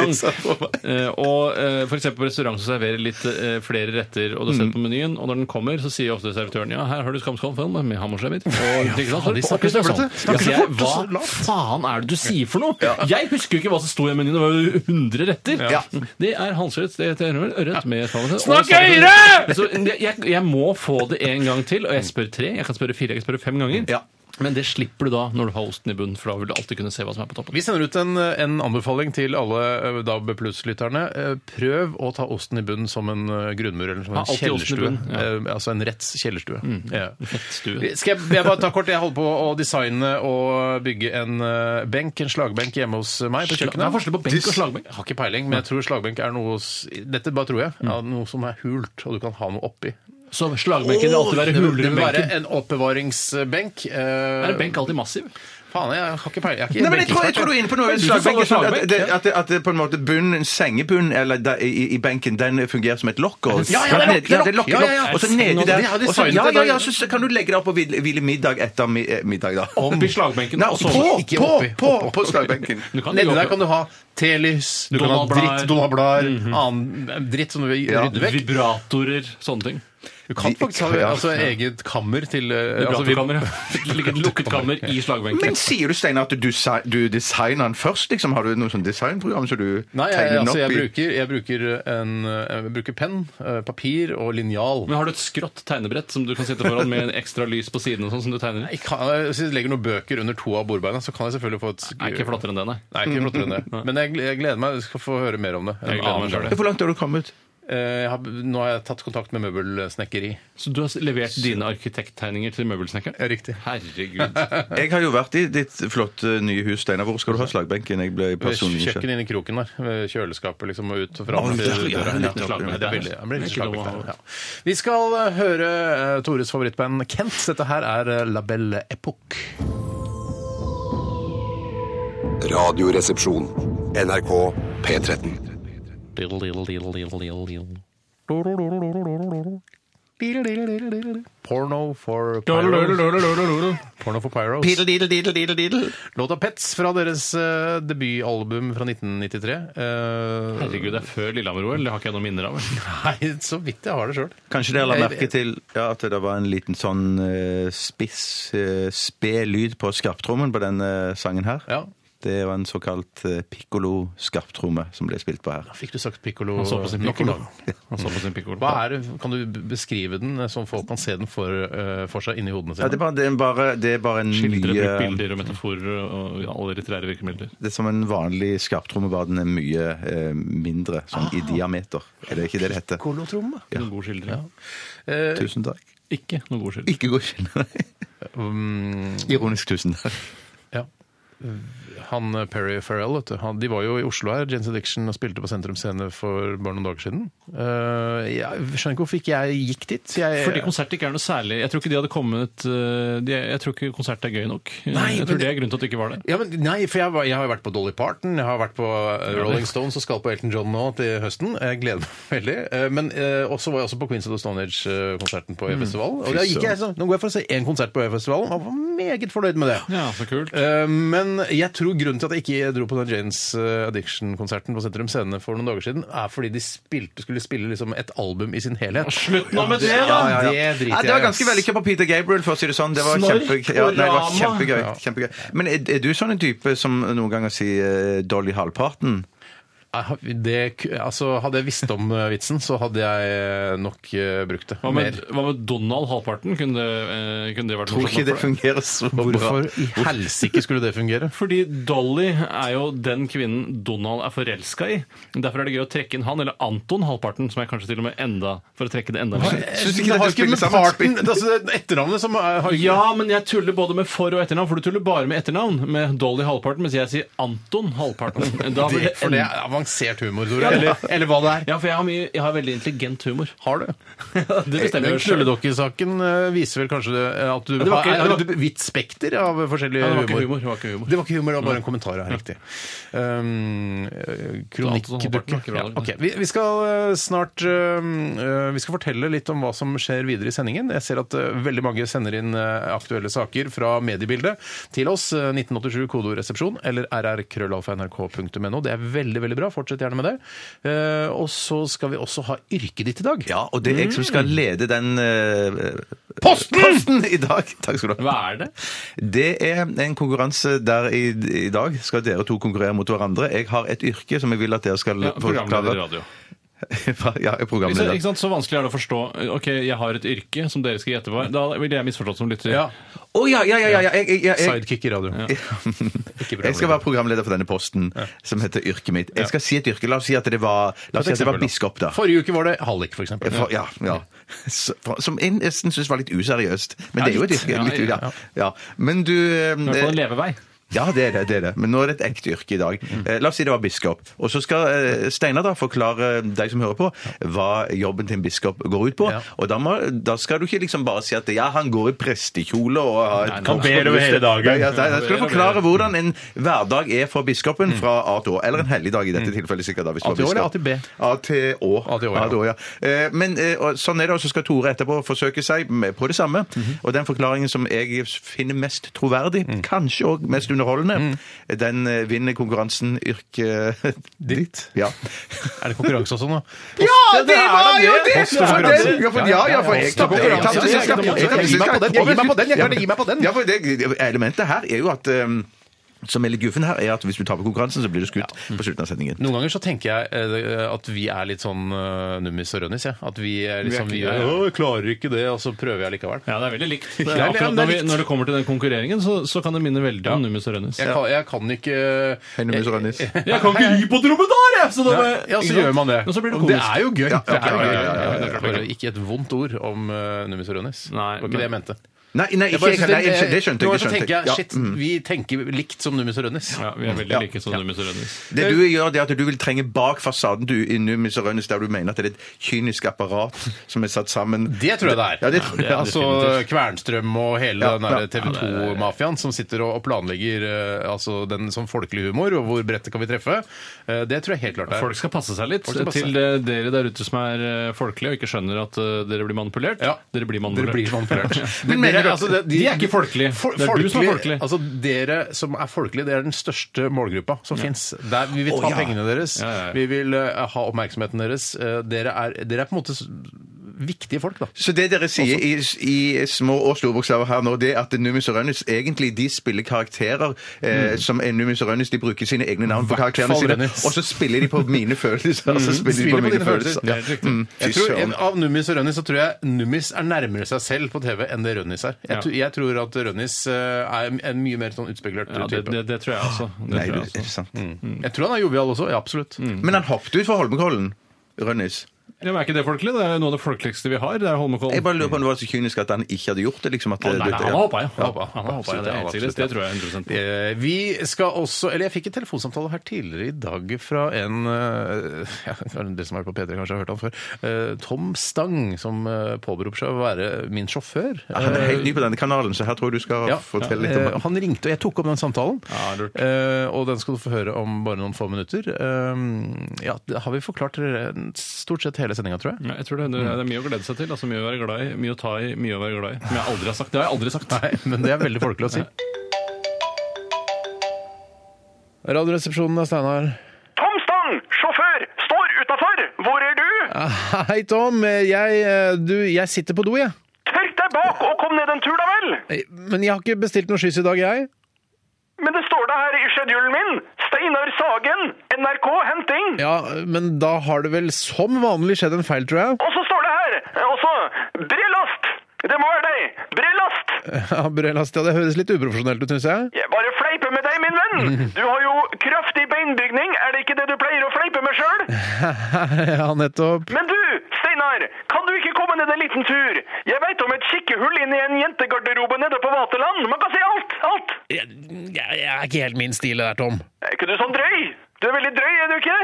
meg.
restaurant eh, Og eh, for eksempel på restaurant som serverer litt eh, flere retter, og du
Mm.
ser på menyen, og når den kommer, så sier ofte servitøren Ja, her har du skamskålen med hammerslemmer. Og ikke sant?
de snakker
Så
så
opplyser
flott,
sånn.
de snakker
Ja,
så
jeg,
fort og så
Hva faen er det du sier for noe? Jeg husker jo ikke hva som sto i menyen, det var jo 100 retter.
Ja.
Det er hansørret, det heter ørret med svalenøtt.
Snakk
Og svalenøtt.
høyere!
Så Jeg, jeg- jeg må få det en gang til, og jeg spør tre, jeg kan spørre fire, jeg kan spørre fem ganger.
Ja.
Men det slipper du da når du har osten i bunnen, for da vil du alltid kunne se hva som er på toppen.
Vi sender ut en, en anbefaling til alle eh, DAB Pluss-lytterne. Eh, Prøv å ta osten i bunnen som en eh, grunnmur eller som
Ha
en
alltid osten i
kjellerstue.
bunnen, ja. Mm.
Eh, Altså en retts kjellerstue. Ja.
Fettstue.
Skal jeg, jeg bare ta kort? Jeg holder på å designe og bygge en eh, benk, en slagbenk, hjemme hos meg på
Det er
kjøkkenet.
forskjell på benk og slagbenk.
Jeg har ikke peiling, men jeg tror slagbenk er noe s- Dette bare tror jeg.
Mm.
Ja, noe som er hult, og du kan ha noe oppi.
Så slagbenken vil alltid være hulere
Det
enn
må være
benken.
en oppbevaringsbenk.
Er
Er
en benk alltid massiv?
Faen, jeg har ikke peiling. Jeg er ikke
Nei, men jeg tror, jeg tror du er inne på noe.
Men du sa
Slagbenken,
slagbenk,
at, det, at, det, at det på en måte bunnen, sengebunn eller der, i, i benken, den fungerer som et lokk. Og,
Ja, ja, det er lokk, det er
Ja, det er
lokk.
lokk,
Ja, ja, ja.
Og så nedi
Det
der.
har de
og så-
signet
ja,
det da.
ja, ja, så, så kan du legge deg opp og hvile, hvile middag etter mi, eh, middag, da.
Om blir slagbenken
Nei,
og
på,
så
ikke
på,
oppi.
på, på slagbenken.
Du kan
Nedi
jo
der
gå
kan du ha telys, du kan ha
Donald-blader.
dritt, Donald-blader,
Mhm.
annen dritt som du vil
Ja,
rydde
på
vekk.
vibratorer, sånne ting.
Du kan faktisk ha
Ja.
altså, eget kammer til eh, altså, vi-
Vibratorkammer. ja. Ligger et lukket kammer i slagbenken.
Men sier du, Steinar, at du, desi- du designer den først? Liksom, har du noe sånn designprogram som du
Nei, jeg,
tegner den
altså, jeg,
opp i?
bruker, jeg, bruker en, eh, jeg bruker penn, eh, papir og linjal.
Men har du et skrått tegnebrett som du kan sitte foran med en ekstra lys på siden og sånn som du tegner? i?
Jeg kan, eh, hvis jeg legger noen bøker under to av bordbeina, så kan jeg selvfølgelig få et sk-
Er ikke flottere enn det, nei.
Nei, ikke flottere enn det. Men jeg, jeg gleder meg. Jeg skal få høre mer om det. en
Jeg gleder meg
annen
selv.
gang.
Hvor langt har du kommet?
Eh, jeg har, nå har jeg tatt kontakt med møbelsnekkeri.
Så du har levert dine arkitekttegninger til møbelsnekkeren?
Riktig.
Herregud.
Jeg har jo vært i ditt flotte nye hus, Steinar. Hvor skal du ha slagbenken? Jeg ble personlig nysgjerrig.
Kjøkkenet inn i kroken der. ved Kjøleskapet liksom og ut og fram. til
Å, der, ja,
døren.
nettopp.
Slagbenk.
Ja,
Det er veldig- det blir litt
Det er ikke lov å
slagbenk
ha.
der, ja. Vi skal eh, høre eh, Tores favorittband Kent. Dette her er eh, La Belle Epoque.
Radioresepsjon. NRK P13.
Diddle, diddle, diddle, diddle, diddle, diddle.
Porno for Pyros. Porno for Pyros. Låta Pets fra deres eh, debutalbum fra 1993. Eh,
Herregud, det er før Lillehammer-OL. Det har ikke jeg noen minner av.
Nei, så vidt jeg har det Eh, sjøl.
Kanskje dere la merke til ja, at det var en liten sånn eh, spiss, eh, sped lyd på skarptrommen på denne eh, sangen her?
Ja.
Det var en såkalt eh, pikkolo-skarptromme som ble spilt på her.
Fikk du sagt pikkolo
Han så på sin
nok en
pikkolo.
gang?
Han så på sin pikkolo.
Hva er, det- kan du b- beskrive den, eh, sånn folk kan se den for, eh, for seg inni hodene sine?
Ja, det, er bare, det, er bare, det er bare en
Skildre,
mye
bruk bilder og metaforer og ja, alle litterære virkemidler.
Det er som en vanlig skarptromme, bare den er mye eh, mindre sånn i diameter. Er det ikke det det heter?
Pikkolotromme?
Noen god skildring.
Eh,
Tusen takk.
Ikke noen god skildring.
Ikke gå skille
Mm,
Ironisk tusen takk.
ja. Han eh, Perry Farrell, vet du. Han, de var jo i Oslo her, Jens Addiction, og spilte på Sentrum Scene for bare noen dager siden. Eh, jeg skjønner ikke hvorfor ikke jeg gikk dit. Jeg,
Fordi konsert ikke er noe særlig. Jeg tror ikke de hadde kommet eh, de, Jeg tror ikke konsert er gøy nok.
Nei,
jeg
men
tror det er grunnen til at de ikke var der.
ja, men, nei, for jeg, var- jeg har jo vært på Dolly Parton, jeg har vært på eh, Rolling Stones og skal på Elton John nå til høsten. Jeg gleder meg veldig. Eh, Men eh, også var jeg også på Queens of the Stone Age-konserten på
Mm.
E-festivalen. Og da gikk jeg sånn, Nå går jeg for å se én konsert på E-festivalen, og var meget fornøyd med det.
Ja, så kult.
Eh, Men jeg tror tror grunnen til at jeg ikke dro på den Janes Addiction-konserten på Sentrum Scene for noen dager siden, er fordi de spilte, skulle spille liksom et album i sin helhet.
Slutt nå med det,
Ja,
da!
ja, ja. Det
Det
driter
Nei, det
jeg
var
i,
ganske
ass.
vellykka på Peter Gabriel, for å si det sånn. Det var,
Snork
kjempe, ja, nei, det var
og lama.
kjempegøy,
Ja.
kjempegøy. Men er, er du sånn en type som noen ganger sier eh, Dolly
Nei,
Halvparten?
Ah, Det, altså, hadde jeg visst om eh, vitsen, så hadde jeg nok eh, brukt det.
Hva med,
Mer.
hva med Donald halvparten? Kunne det, eh, kunne det vært
Tror ikke
morsomt?
det fungerer så bra.
Hvorfor i helsike skulle det fungere?
Fordi Dolly er jo den kvinnen Donald er forelska i. Derfor er det gøy å trekke inn han, eller Anton halvparten, som er kanskje til og med enda For å trekke det enda mer.
Syns
Det
du ikke
har ikke
dette spiller
med
sammen?
parten det er altså det er Etternavnet som er, har ikke
Ja, men jeg tuller både med for- og etternavn, for du tuller bare med etternavn. Med Dolly halvparten, mens jeg sier Anton halvparten. Da blir
det,
det
For det
en...
er avansert humor, Tore.
Ja, det-
Eller, eller hva det er.
Ja, for jeg har, mye, jeg har veldig intelligent humor.
Har du?
Det bestemmer
Den
jeg selv.
Eh, knulledokkesaken eh, viser vel kanskje det, eh, at du
det var
har er-
ikke- det var-
har et vidt spekter av forskjellig
Ja, det var ikke
humor.
humor, det var ikke humor.
Det var ikke humor, det var bare en kommentar her, riktig. Um, eh, Kronikkdukke.
Håvarten,
Ja,
akkurat.
ok. vi, vi skal eh, snart eh, eh, Vi skal fortelle litt om hva som skjer videre i sendingen. Jeg ser at eh, veldig mange sender inn eh, aktuelle saker fra mediebildet til oss. eh, 1987 kodoresepsjon eller rrkrøllalfa.nrk.no. Det er veldig, veldig bra. Fortsett gjerne med det. Eh, og så skal vi også ha yrket ditt i dag.
Ja, og det er jeg som skal lede den eh,
Mm. Posten!
posten i dag. Takk skal du
Hva
ha.
er det?
Det er en konkurranse der i, i dag skal dere to konkurrere mot hverandre. Jeg har et yrke som jeg vil at dere skal
Ja, programleder i
forklare.
radio.
ja, jeg er
Så,
programleder.
ikke sant, så vanskelig er det å forstå. Ok, jeg har et yrke som dere skal gjette hva er. Da ville jeg misforstått som lytter.
Ja.
Å ja, ja, ja, ja, ja, jeg, jeg, jeg, jeg,
Sidekick i radioen.
jeg skal være programleder for denne posten som heter yrket mitt. Jeg skal si et yrke. La oss si at det var, la oss si at det var
eksempel, da.
biskop, da.
Forrige uke var det hallik, for eksempel.
For, ja, ja. Så- for- Som jeg nesten syns var litt useriøst. Men det er jo et yrke.
Ja,
Litt,
ja,
ja. Ja. Men du
I hvert fall
eh,
en levevei.
Ja, det er det. det er det. Men nå er det et ekte yrke i dag.
Mm.
Eh, La oss si det var biskop. Og så skal eh, Steinar da forklare eh, deg som hører på, hva jobben til en biskop går ut på.
Ja.
Og da, må, da skal du ikke liksom bare si at ja, han går i prestekjole og har et
Nei, nei, nei.
ber over hele dagen.
Ja, nei, jeg skal forklare hvordan en hverdag er for biskopen fra A til Å. Eller en helligdag i dette tilfellet, sikkert. da, hvis
Mm. A til Å eller A til
biskop.
B?
A til Å.
A til Å, ja.
A til Å, ja. Eh, Men eh, og sånn er det, og så skal Tore etterpå forsøke seg med- på det samme.
Mhm.
Og den forklaringen som jeg finner mest troverdig,
Mm.
kanskje òg mest underholdende, den eh, vinner konkurransen yrke ditt. Ja.
Er det konkurranse også nå?
Ja,
det var jo det!
Post- og
For den-
konkurranse. Ja, for, ja, ja, for jeg
Post- og konkurranse.
tapte sist gang.
Ja, ja, ja.
Jeg tapte sist gang.
Gi meg på den, jeg gir meg på den, jeg klarer det, gi meg på den.
Ja, for det, elementet her er jo at um, som er litt guffen her, er at hvis du taper konkurransen, så blir du skutt på slutten av sendingen.
Noen ganger så tenker jeg eh, at vi er litt sånn eh, nummis og rønnis. Ja. At vi er liksom vi
Vi er ikke-
er, «Å, jeg klarer ikke det, og så prøver jeg likevel.
Ja, det er veldig likt.
Det er likt.
Akkurat når, vi, når det kommer til den konkurreringen, så, så kan det minne veldig om Nummis og Rønnis.
Jeg kan, jeg kan ikke
Hei, nummis og rønnis.
Jeg kan ikke ri på dromedar, jeg! Så da må
eh,
jeg-
Ja,
ikke
så
sant?
gjør man det.
Og så blir det
Og
komisk.
er jo gøy.
Ja,
det
ja,
er jo
ja,
gøy.
ja, ja, ja,
ja, ja.
Bare Ikke et vondt ord om eh, nummis og rønnis. Det
Nei,
var ikke det jeg mente.
Nei, nei,
Jeg
ikke,
bare
jeg,
synes
nei, jeg skjønte- det skjønte
noen
jeg.
ganger så
skjønte
tenker
jeg.
jeg,
Ja,
shit,
mm.
Vi tenker likt som nummis og rønnis.
Ja, vi er veldig like som Nummis og Rønnis.
Det
Eh,
du gjør, det er at du vil trenge bak fasaden du i Numis og Rønnes, der du mener at det er et kynisk apparat som er satt sammen.
Det tror jeg det er.
Ja, det tror jeg.
Ja,
Altså Kvernstrøm og hele
Ja,
den
ja.
der TV 2-mafiaen som sitter og og planlegger eh, altså, den som folkelig humor, og hvor brettet kan vi treffe. Eh, Det tror jeg helt klart det er.
Folk skal passe seg litt.
Folk skal passe
Til eh, dere der ute som er eh, folkelige og ikke skjønner at eh, dere blir manipulert.
Ja.
Dere blir
Dere
manipulert.
blir manipulert. altså,
Men mener du at-
det-
de er ikke folkelige. Det er du som er folkelig.
Altså, dere som er folkelige, det er den største målgruppa som fins. Vi vil ta
ja.
pengene deres,
Ja, ja, ja.
vi vil eh, ha oppmerksomheten deres. Eh, Dere er, dere er på en måte s- viktige folk, da.
Så det dere sier i, i små og store bokstaver her nå, det er at Numis og Rønnes egentlig de spiller karakterer eh, som er Numis og Rønnes. De bruker sine egne navn
Mm.
på
Hvert
karakterene
fall
sine,
Rønnis. Mm.
og så spiller de på mine følelser. Og så spiller de
Spiller
på
på
mine
dine følelser.
følelser.
Det er helt
Mm, Fy
Jeg tror,
søren.
av Nummis og Rønnis så tror jeg Nummis er nærmere seg selv på TV enn det Rønnis er. Jeg,
Ja.
tror- jeg tror at Rønnis eh, er en- en mye mer sånn utspekulert
Ja, det,
type.
det, det tror jeg også. Det
Nei, du,
tror jeg
er det
også.
sant?
Jeg tror han er jovial også. Ja, absolutt.
Mm.
Men han hoppet ut fra Holmenkollen, Rønnes.
Ja, men er ikke det folkelig? Det er noe av det folkeligste vi har. Det er
Jeg
Holmenkollen.
bare
Mm.
lurer på om det var så kynisk at han ikke hadde gjort det. liksom at...
Å, nei, nei, han har hoppa, ja. Han har hoppa, han har hoppa, ja.
Absolutt,
Det er
ja,
helt seriøst.
absolutt, ja.
Det tror jeg 100 på.
Eh, Vi skal også Eller jeg fikk en telefonsamtale her tidligere i dag fra en eh, ja, Dere som har vært på P3, kanskje har hørt han før. eh, Tom Stang, som eh, påberoper seg å være min sjåfør.
Ja, Han er helt ny på denne kanalen, så her tror jeg du skal
Eh, Ja,
fortelle litt om
eh,
han.
Han ringte, og jeg tok opp den samtalen.
Ja, lurt.
Eh, og den skal du få høre om bare noen få minutter. Eh, ja, det har vi forklart dere stort sett hele sendinga, tror jeg.
Ja, jeg tror det, det
Mm.
er mye å glede seg til. Altså, mye å være glad i, mye å ta i, mye å være glad i. Men jeg aldri har sagt. Det har jeg aldri sagt.
Nei, men det er veldig folkelig å si. Radioresepsjonen er Steinar.
Tom Stang, sjåfør, står utafor! Hvor er du?
Hei, Tom. Jeg, eh, du, jeg sitter på do, jeg.
Tørk deg bak og kom ned en tur, da vel!
Eh, Men jeg har ikke bestilt noe skyss i dag, jeg.
Men det står det her i schedulen min! Steinar Sagen, NRK henting!
Ja, Men da har det vel som vanlig skjedd en feil, tror jeg.
Og så står det her eh, også Brelast! Det må være deg! Brelast!
Ja, Brelast, ja, Det høres litt uprofesjonelt ut, syns jeg.
Jeg bare fleiper med deg, min venn! Du har jo kraftig beinbygning, er det ikke det du pleier å fleipe med sjøl?
Ja, nettopp.
Men du, Steinar, kan du ikke komme ned en liten tur? Jeg veit om et kikkehull inn i en jentegarderobe nede på Vaterland. Man kan si alt! Alt!
Jeg, jeg er ikke helt min stil, det der, Tom.
Er ikke du sånn drøy? Du er veldig drøy, er du ikke?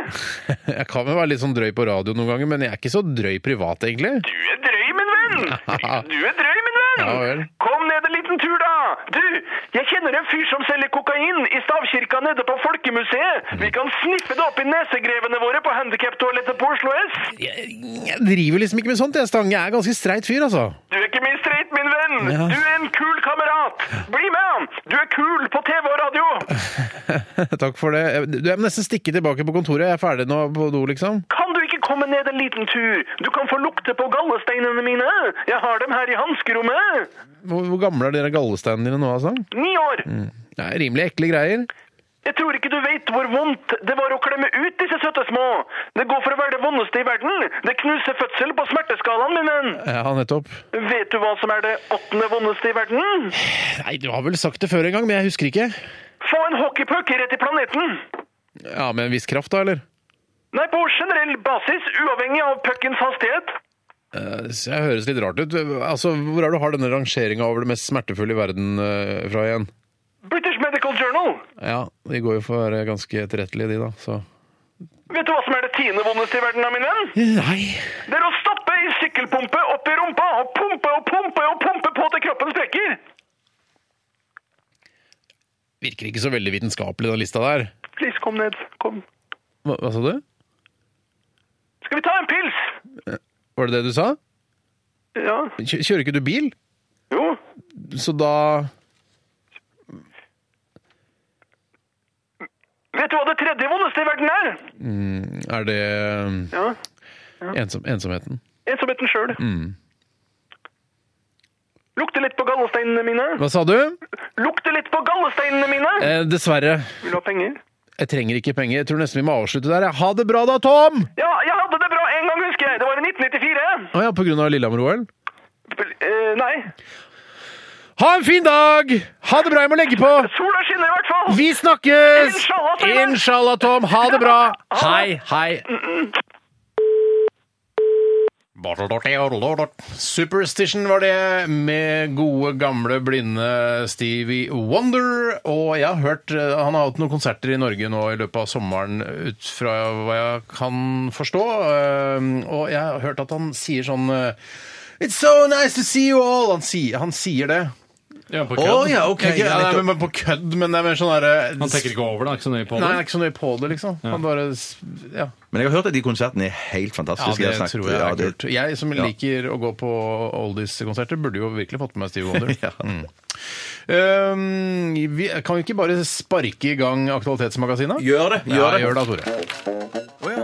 Jeg kan vel være litt sånn drøy på radio noen ganger, men jeg er ikke så drøy privat, egentlig.
Du er drøy, min venn! Du er drøy, min venn!
Ja vel.
Kom ned en liten tur, da! Du, jeg kjenner en fyr som selger kokain i stavkirka nede på Folkemuseet. Vi kan sniffe det opp i nesegrevene våre på handikaptoalettet på Oslo S.
Jeg, jeg driver liksom ikke med sånt, jeg, Stang. Jeg er ganske streit fyr, altså.
Du er ikke min streit, min venn!
Ja.
Du er en kul kamerat! Bli med! Du er kul på TV og radio!
Takk for det. Jeg- Du, jeg må nesten stikke tilbake på kontoret. Jeg er ferdig nå på do, liksom.
Kan du ikke komme ned en liten tur? Du kan få lukte på gallesteinene mine. Jeg har dem her i hanskerommet.
Hvor, hvor gamle er dere gallesteinene dine nå, altså?
Ni år.
Det er rimelig ekle greier.
Jeg tror ikke du vet hvor vondt det var å klemme ut disse søte små. Det går for å være det vondeste i verden. Det knuser fødsel på smerteskalaen, min venn.
Ja, nettopp.
Vet du hva som er det åttende vondeste i verden?
Nei, du har vel sagt det før en gang, men jeg husker ikke.
Få en hockeypuck rett i planeten.
Ja, med en viss kraft, da, eller?
Nei, på generell basis, uavhengig av puckens hastighet.
Eh, så Jeg høres litt rart ut. Altså, Hvor er det du har denne rangeringa over det mest smertefulle i verden eh, fra igjen?
British Medical Journal.
Ja, de går jo for å være ganske etterrettelige, de, da. Så
Vet du hva som er det tiende vondeste i verden, da, min venn?
Nei.
Det er å stappe i sykkelpumpe opp i rumpa og pumpe og pumpe og pumpe på til kroppen sprekker.
Virker ikke så veldig vitenskapelig, den lista der.
Please, kom ned. Kom.
Hva, hva sa du?
Skal vi ta en pils?
Var det det du sa?
Ja.
Kjø- Kjører ikke du bil?
Jo.
Så da
Vet du hva det tredje vondeste i verden er?
er det eh,
Ja.
ensom, ensomheten.
Ensomheten sjøl.
Mm.
Lukter litt på gallesteinene mine.
Hva sa du?
Lukter litt på gallesteinene mine!
Eh, dessverre.
Vil du ha penger?
Jeg trenger ikke penger. Jeg tror nesten vi må avslutte der. jeg. Ha det bra da, Tom!
Ja, jeg hadde det bra en gang, husker jeg. Det var i 1994.
Å ja, på grunn av Lillehammer-OL?
Eh, nei.
Ha en fin dag! Ha det bra, jeg må legge på!
Sola skinner i hvert fall!
Vi snakkes!
Inshallah, Steinar.
Inshallah, Tom. Ha det bra! Hei, hei. Superstition var det, med gode, gamle, blinde Stevie Wonder. Og jeg har hørt eh, Han har hatt noen konserter i Norge nå i løpet av sommeren, ut fra hva jeg kan forstå. Eh, Og jeg har hørt at han sier sånn eh, It's so nice to see you all! Han sier, han sier det.
Ja,
Å
på kødd.
ja, ok. Ikke, ja, nei, men på kødd, men det er mer sånn derre
Han tenker ikke over det, han er ikke så nøye på
Nei,
det.
jeg er ikke så nøye på det, liksom. Han bare s- Ja,
Men jeg har hørt at de konsertene er helt
ja
fantastiske.
det
har snakket-
tror jeg
ja,
er
det-
kult. Jeg som liker å gå på oldies-konserter, burde jo virkelig fått med meg Steve Wonder.
Ja.
mm. um, vi, kan vi ikke bare sparke i gang Aktualitetsmagasinet?
Gjør det! Gjør
ja,
det.
gjør det, Tore.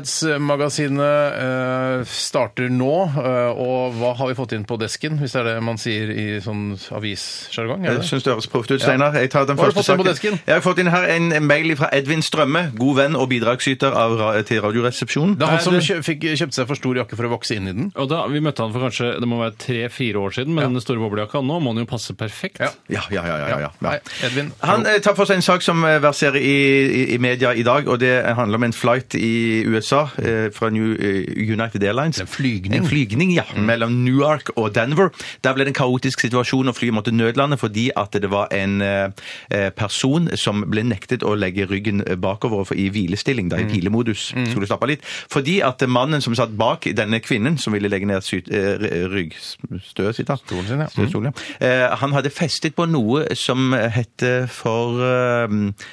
Aktualitetsmagasinet eh, starter nå, eh, og hva har vi fått inn på desken, hvis det er det man sier i sånn avissjargong? er
Jeg
det?
syns det høres proft ut, Steinar. Jeg tar den
Hva har du
første
fått inn på
saken.
desken?
Jeg har fått inn her en en mail fra Edvin Strømme, god venn og bidragsyter av, ra- til Radioresepsjonen.
Det er han som
det-
kjø- fikk, kjøpte seg for stor jakke for å vokse inn i den.
Og da, Vi møtte han for kanskje det må være tre-fire år siden med den store boblejakka. Nå må den jo passe perfekt.
Ja.
Ja, ja, ja. ja, ja, ja.
Nei, Edvin.
Han
hallo.
eh, tar for seg en sak som eh, verserer i, i, i media i dag, og det handler om en flight i USA eh, fra New, eh, United Airlines.
En flygning. Mm.
En flygning, ja, mellom Newark og Denver. Der ble det en kaotisk situasjon, og flyet måtte nødlande fordi at det var en eh, eh, person som ble nektet å legge ryggen eh, bakover for i hvilestilling, da,
Mm.
i hvilemodus. Skulle slappe av litt. Fordi at mannen som satt bak denne kvinnen, som ville legge ned syt- eh, r- ryggstøet sitt, da.
Stolen sin, ja.
Stø- Solen, ja. Eh, Han hadde festet på noe som heter for eh,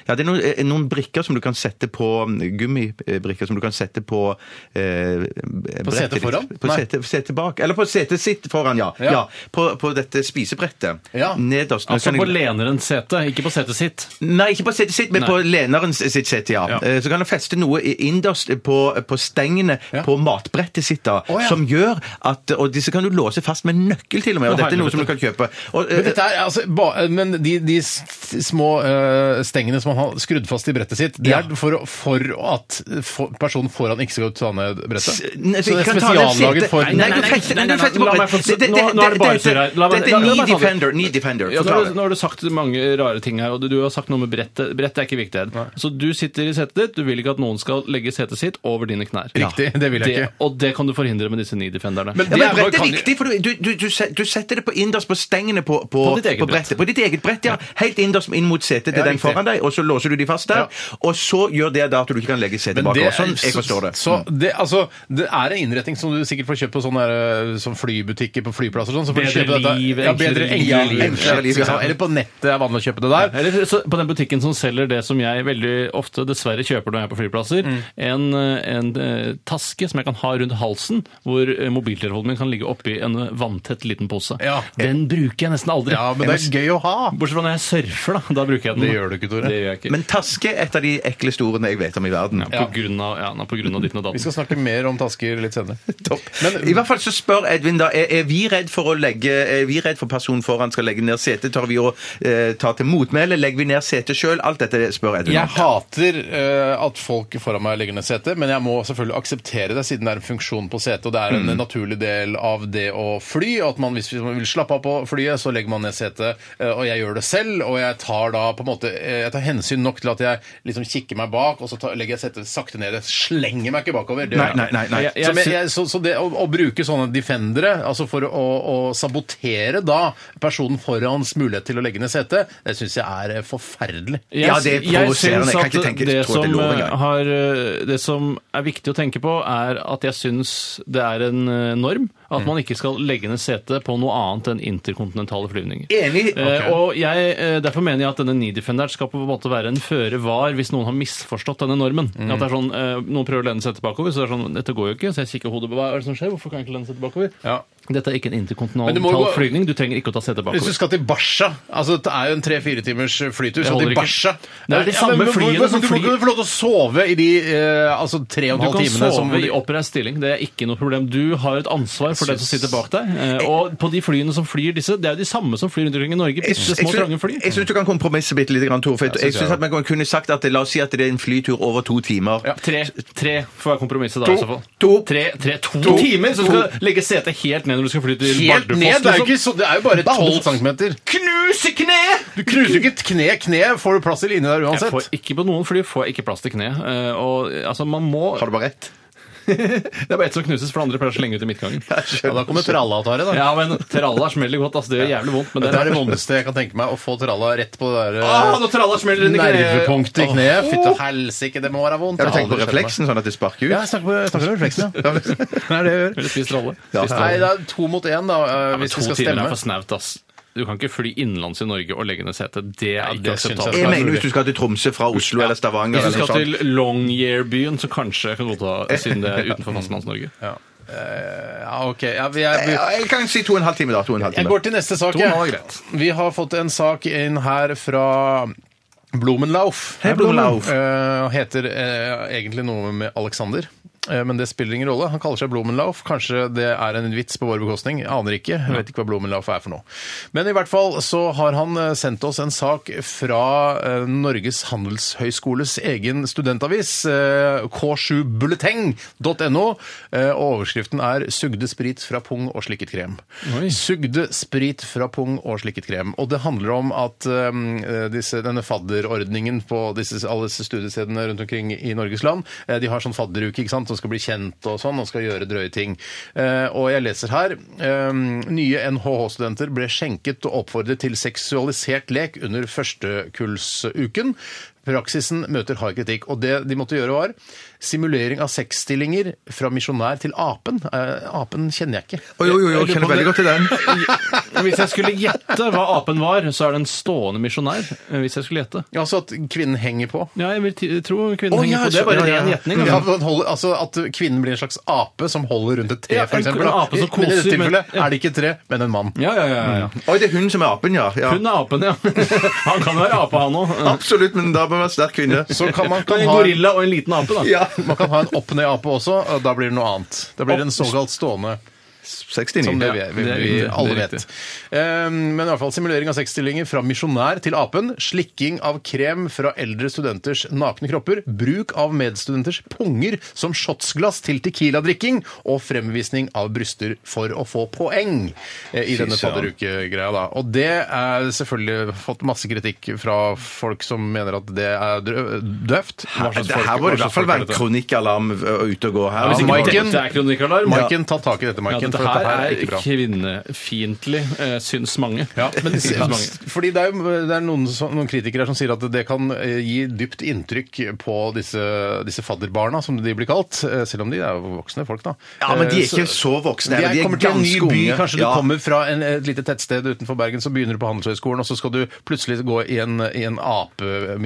Ja, det er noen, eh, noen brikker som du kan sette sette på gummibrikker som du kan sette på eh, På
setet foran?
På
Nei.
setet, setet bak. Eller på setet sitt foran, ja.
Ja.
ja. på, på dette spisebrettet.
Ja.
Nederst. Nå
Altså
kan
på
jeg-
lenerens sete, ikke på setet sitt.
Nei, ikke på setet sitt, men
Nei.
på leneren sitt sete, ja.
Ja.
Eh, Så kan han feste noe i- innerst på, på stengene
Ja.
på matbrettet sitt, da,
Å, ja.
som gjør at Og disse kan du låse fast med nøkkel, til og med. Og
Å,
dette er noe som du kan
helvete.
kjøpe. Og, eh,
Men, dette er, altså, ba, men de, de s- små eh, stengene som han har skrudd fast i brettet sitt, det
Ja.
er for, å- for at for, personen foran ikke skal ta ned brettet?
S- nei,
så det er
kan ta ned
spesiallaget
setet.
for
Nei, nei, du fester- nei, du fester på
La meg
brettet.
få-
Det- det-
nå- nå er det bare
dette-
surr her. La meg-
dette
la-
er
la meg
Knee
ta det.
Defender. Knee Defender.
Ja, nå, har
Forklar
du,
det.
nå har du sagt mange rare ting her, og du, du har sagt noe med brettet. Brettet er ikke viktig. her. Så du sitter i setet ditt, du vil ikke at noen skal legge setet sitt over dine knær.
Riktig, det vil jeg
Det-
ikke.
Og det kan du forhindre med disse knee defenderne.
Men
Ja,
det
men
er-
brettet er
kan-
viktig, for du, du, du, du set- du setter det på innerst på stengene på, på,
På ditt eget brett.
brettet. På ditt eget brett, ja. Helt innerst inn mot setet
Ja,
til den
riktig.
foran deg, og så låser du de fast der. Og så gjør det da at du ikke kan legge setet
Men det
bakover.
er-
Sånn, jeg forstår det.
Så det, altså, det er en innretning som du sikkert får kjøpt på sånne der, eh, som flybutikker på flyplasser. og Sånn, så får du
Bedre
kjøpe dette-
liv,
ja,
enklere
bedre
liv,
enklere liv.
enklere liv,
ja.
ja.
Eller på nettet er vanlig å kjøpe det der.
Eller så på den butikken som selger det som jeg veldig ofte dessverre kjøper når jeg er på flyplasser,
Mm.
en, en eh, taske som jeg kan ha rundt halsen, hvor eh, mobiltelefonen min kan ligge oppi en eh, vanntett liten pose.
Ja.
Den bruker jeg nesten aldri.
Ja, men det er gøy å ha.
Bortsett fra når jeg surfer, da. Da bruker jeg den.
Det gjør du ikke, Tore.
Det gjør jeg ikke.
Men taske er et av de ekleste ordene jeg vet om i verden.
ja, på grunn av, ja, på grunn av ditt og
Vi
datt.
skal snakke mer om tasker litt senere.
Topp.
Men-
I hvert fall så spør Edvin da, er, er vi redd for å legge, er vi redd for personen foran skal legge ned setet? Tar vi å eh, ta til motmæle? Legger vi ned setet sjøl? Alt dette spør Edvin
Jeg
om.
hater eh, at folk foran meg legger ned setet, men jeg må selvfølgelig akseptere det, siden det er en funksjon på setet, og det er
Mm.
en naturlig del av det å fly. og at man, Hvis man vil slappe av på flyet, så legger man ned setet. eh, og jeg gjør det selv, og jeg tar da på en måte eh, jeg tar hensyn nok til at jeg liksom kikker meg bak, og så tar, legger jeg setet sakte ned. Jeg slenger meg ikke bakover. Det
Nei,
gjør jeg
nei, nei, nei.
Jeg- jeg
så, men,
sy-
jeg, så, så det å, å bruke sånne defendere altså for å, å sabotere da personen forans mulighet til å legge ned setet, det syns jeg er eh, forferdelig.
Ja, det er
jeg
provoserende. Jeg
syns
kan
at
ikke tenke-
det
tro at det
som, eh,
lover engang.
har, eh, det som er viktig å tenke på, er at jeg syns det er en eh, norm
Mm.
at man ikke skal legge ned setet på noe annet enn interkontinentale flyvninger.
Enig.
Eh, og jeg, eh, Derfor mener jeg at denne Nidifenderen skal på en måte være en føre var hvis noen har misforstått denne normen.
Mm.
At det er sånn, eh, Noen prøver å lene setet bakover, så det er sånn Dette går jo ikke. Så jeg kikker hodet Hva er det som skjer? Hvorfor kan jeg ikke lene setet bakover?
Ja.
Dette er ikke
Men
en
du må jo
interkontinental
gå-
flygning. Du trenger ikke å ta setet bakover.
Hvis du skal til Barca altså Det er jo en tre-fire timers flytur,
Det
så
holder
til
ikke.
Barca
Det er de samme
men- men-
flyene
men
som
Du må
flyr-
ikke få lov til å sove i de eh, altså, tre og en
Du
halv
kan
timene
sove
som
i oppreist stilling, det er ikke noe problem. Du har et ansvar for den som sitter bak deg. eh, Og på de flyene som flyr disse, det er jo de samme som flyr rundt omkring i Norge.
Jeg
Bitte små, trange fly.
syns du kan kompromisse bitte lite grann, Tor. For jeg syns at man kunne sagt at eh, la oss si at det er en flytur over to timer.
Tre, tre får være kompromisset da, i så fall.
To.
Tre, tre, to, timer! Så du skal legge setet helt ned når du skal fly til
Helt
Bardufoss.
ned! Det er jo,
liksom.
ikke, så, det er jo bare 12 centimeter.
Knuse kne!
Du knuser jo ikke et kne. Kne får du plass til inni der
Jeg får
uansett.
ikke på noen fly får jeg ikke plass til kne. eh, Og eh, altså, man må
Har du bare rett?
Det er bare ett som knuses, for det andre pleier å slenge ut i midtgangen.
Ja, da kommer tralla av det, da.
Ja, men Tralla smeller godt. Altså, det gjør jævlig vondt, men
Det
det
er det vondeste jeg kan tenke meg, å få tralla rett på det der eh,
Åh, når tralla smeller inn i kneet.
nervepunktet i kneet. Fytte helsike, det må være vondt.
Ja, du tenker
Aldri
på
skjedd meg.
refleksen, sånn at det sparker ut?
Ja, jeg snakker, på, jeg snakker om refleksen, ja. Det er det jeg gjør.
Eller spis tralle.
Ja.
Spis tralle.
Nei, det er to mot én, da, eh,
Ja, men
hvis
to
vi skal
timer
stemme.
er for snaut, ass. Du kan ikke fly innenlands i Norge og legge ned setet. Det er ikke
det syns
akseptabelt.
jeg
Jeg
er
mener
mulig.
hvis du skal til Tromsø fra Oslo eller Stavanger
Hvis du
eller noe
skal
sånt.
til Longyearbyen, så kanskje jeg kan godta siden det er utenfor Fastlands-Norge.
Ja. Eh, ja, OK. Ja, vi er,
Ja, Jeg kan si to og en halv time, da. To og en halv
Jeg
time.
går til neste sak.
To
jeg.
var greit.
Vi har fått en sak inn her fra Blumenlauf.
Hei, Blumenlauf.
Eh, heter eh, egentlig noe med Alexander. eh, Men det spiller ingen rolle. Han kaller seg Blumenlauf. Kanskje det er en vits på vår bekostning. Jeg aner ikke. Jeg vet ikke hva Blumenlauf er for noe. Men i hvert fall så har han eh, sendt oss en sak fra eh, Norges Handelshøyskoles egen studentavis, eh, k7bulleteng.no. eh, Og overskriften er 'Sugde sprit fra pung og slikket krem'.
Oi.
Sugde sprit fra pung og slikket krem. Og det handler om at um, disse, denne fadderordningen på disse, alle disse studiestedene rundt omkring i Norges land, eh, de har sånn fadderuke ikke sant, som skal bli kjent og sånn, og skal gjøre drøye ting. Eh, og jeg leser her um, nye NHH-studenter ble skjenket og oppfordret til seksualisert lek under førstekullsuken. Praksisen møter hard kritikk, og det de måtte gjøre var simulering av sexstillinger fra misjonær til apen. Eh, apen kjenner jeg ikke.
Å, jo, jo, jo, kjenner veldig godt til den.
Men Hvis jeg skulle gjette hva apen var, så er det en stående misjonær. eh, Hvis jeg skulle gjette.
Altså at kvinnen henger på.
Ja, jeg vil ti- tro kvinnen
Å,
henger
ja,
på. Det er bare
ja, ja.
ren gjetning.
Ja,
altså.
men holder, altså At kvinnen blir en slags ape som holder rundt et tre,
Ja, en-
for eksempel.
en
da.
ape som
men i dette
koser, men-
tilfellet er det ikke et tre, men en mann.
Ja, ja, ja, ja, ja.
Oi, det er hun som er apen, ja. ja.
Hun er apen, ja. Han kan være ape, han òg.
Absolutt, men da bør hun være sterk kvinne.
Så kan man, kan
En
ha,
gorilla og en liten ape, da.
Ja.
man kan ha en opp ned ape også, og da blir det noe annet. Da blir det en såkalt stående
69.
Som det
Ja.
vi, vi,
det er
vi
riktig,
alle
det er
vet. Eh, men i hvert fall simulering av sexstillinger fra misjonær til apen, slikking av krem fra eldre studenters nakne kropper, bruk av medstudenters punger som shotsglass til tequila-drikking og fremvisning av bryster for å få poeng eh, i
Fy
denne
søren.
fadderukegreia. da. Og det er selvfølgelig fått masse kritikk fra folk som mener at det er drø- døvt. Hva slags
Det her
folk-
må
hva
i hvert
slags
fall
folk er
være
dette?
kronikkalarm ø, ute og gå her.
hvis
Ja,
ikke
Mike-
Maiken-
Dette er kronikkalarm. Ja.
Maiken, ta tak i dette,
Ja,
Maiken.
dette her er kvinnefiendtlig, eh, syns mange.
Ja, men det,
syns mange.
fordi det er, jo, det er noen, som- noen kritikere her som sier at det kan eh, gi dypt inntrykk på disse, disse fadderbarna, som de blir kalt. eh, Selv om de er jo voksne folk, da.
Ja, men de er
Eh,
ikke så voksne.
de
eller
er, kommer til en ny
ganske
by,
unge.
kanskje
Ja.
du kommer fra en, et lite tettsted utenfor Bergen, så begynner du på Handelshøyskolen, og så skal du plutselig gå i en, i en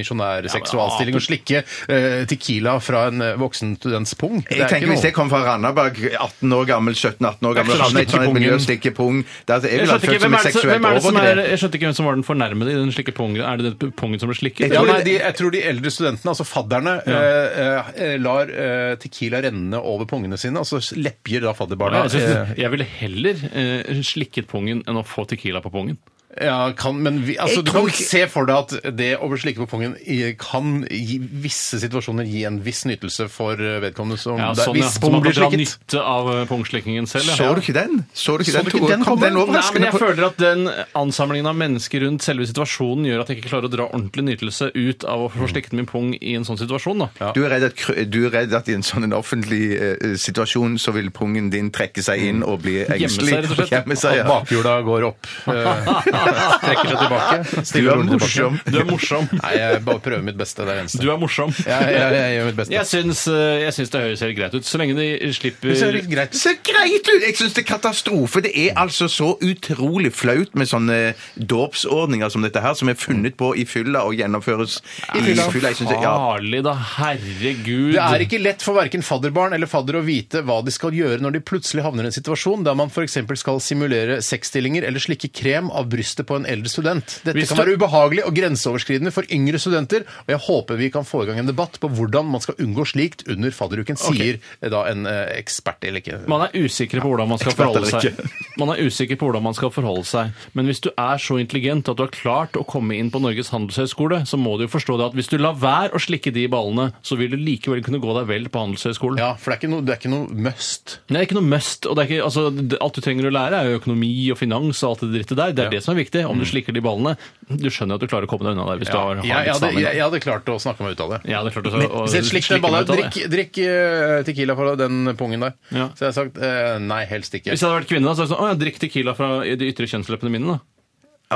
ape-misjonær-seksualstilling og slikke eh, tequila fra en eh, voksen students pung. Det er
Jeg tenker
ikke
Hvis
noe-
jeg kom fra Randaberg, 18 år gammel, 17-18 år gammel,
så
og havnet i et
slikke
sånt miljø
pungen.
og stikke pung der, altså, Jeg
Jeg
ville
skjønte
vært følt
ikke
som
hvem er
et
det som, hvem
seksuelt
er det som, er,
overgrep.
jeg skjønte ikke hvem som var den fornærmede i den slikke pungen. Er det den pungen som ble slikket?
Ja,
tror-
nei, de, jeg tror de eldre studentene, altså fadderne, eh, eh, lar eh, tequila renne over pungene sine, og så lepjer da fadderbarna.
Ja, jeg,
eh,
synes, jeg ville heller eh, slikket pungen enn å få Tequila på pungen.
Ja, kan, men vi, altså,
Jeg
du
tror
kan
ikke-
se for deg at det å bli slikket på pungen i- kan i visse situasjoner gi en viss nytelse for eh, vedkommende som
Ja,
det er-
sånn, ja.
Hvis
Så
pungen
man
blir
kan dra
slikket.
nytte av eh, pungslikkingen selv.
Så du ikke den? Så du ikke
Så
den?
du ikke
Tore?
den
Kom
komme?
den
Nei, men
overraskende
jeg
på?
føler at den ansamlingen av mennesker rundt selve situasjonen gjør at jeg ikke klarer å dra ordentlig nytelse ut av å få slikket min pung i en sånn situasjon. da.
Du er, redd at, krø- du er redd at i en sånn en offentlig eh, situasjon så vil pungen din trekke seg inn og bli engstelig.
seg, rett og slett.
Gjemme seg,
At
ja.
bakhjula går opp. eh, Trekker seg tilbake.
Du
Stiller
er
rolig tilbake.
morsom.
Du er morsom.
Nei, jeg bare prøver mitt beste. Det er det eneste.
Du er morsom.
Jeg, jeg, jeg gjør mitt beste.
Jeg syns, eh, jeg syns det høres helt greit ut, så lenge de slipper
Så er det greit.
Det ser greit ut! Jeg syns det er katastrofe. Det er altså så utrolig flaut med sånne dåpsordninger som dette her, som er funnet på i fylla og gjennomføres i
fylla.
fylla. Jeg synes det, ja.
Farlig, Ah, da. Herregud.
Det er ikke lett for verken fadderbarn eller fadder å vite hva de skal gjøre når de plutselig havner i en situasjon der man f.eks. skal simulere sexstillinger eller slikke krem av brystet på en eldre student. Dette
Hvis
kan
du-
være ubehagelig og grenseoverskridende for yngre studenter, og jeg håper vi kan få i gang en debatt på hvordan man skal unngå slikt under fadderuken, sier eh, da en eh, ekspert eller ikke.
Man er usikker på hvordan man skal
Ekspert eller
forholde seg. Man er usikker på hvordan man skal forholde seg. Men hvis du er så intelligent at du har klart å komme inn på Norges handelshøyskole, så må du jo forstå det at hvis du lar være å slikke de ballene, så vil du likevel kunne gå deg vel på handelshøyskolen.
Ja, for det er ikke noe, det er ikke noe must.
Det er ikke noe must. og det er ikke, altså, det- Alt du trenger å lære, er jo økonomi og finans og alt det drittet der. Det er det som er viktig. Om du
Mm.
slikker de ballene Du skjønner at du klarer å komme deg unna der hvis du har, har
Jeg, jeg,
litt
hadde,
stamina.
jeg, jeg hadde klart å snakke meg ut av det.
Ja, det er klart altså, å- å-
Hvis jeg slikker den
slikke meg
ballen,
ut av det.
drikk, drikk eh, tequila fra den pungen der.
Ja.
Så jeg har sagt eh, nei, helst ikke.
Hvis jeg hadde vært kvinne, da, så hadde jeg sånn Å ja, drikk Tequila fra de ytre kjønnsleppene mine, da.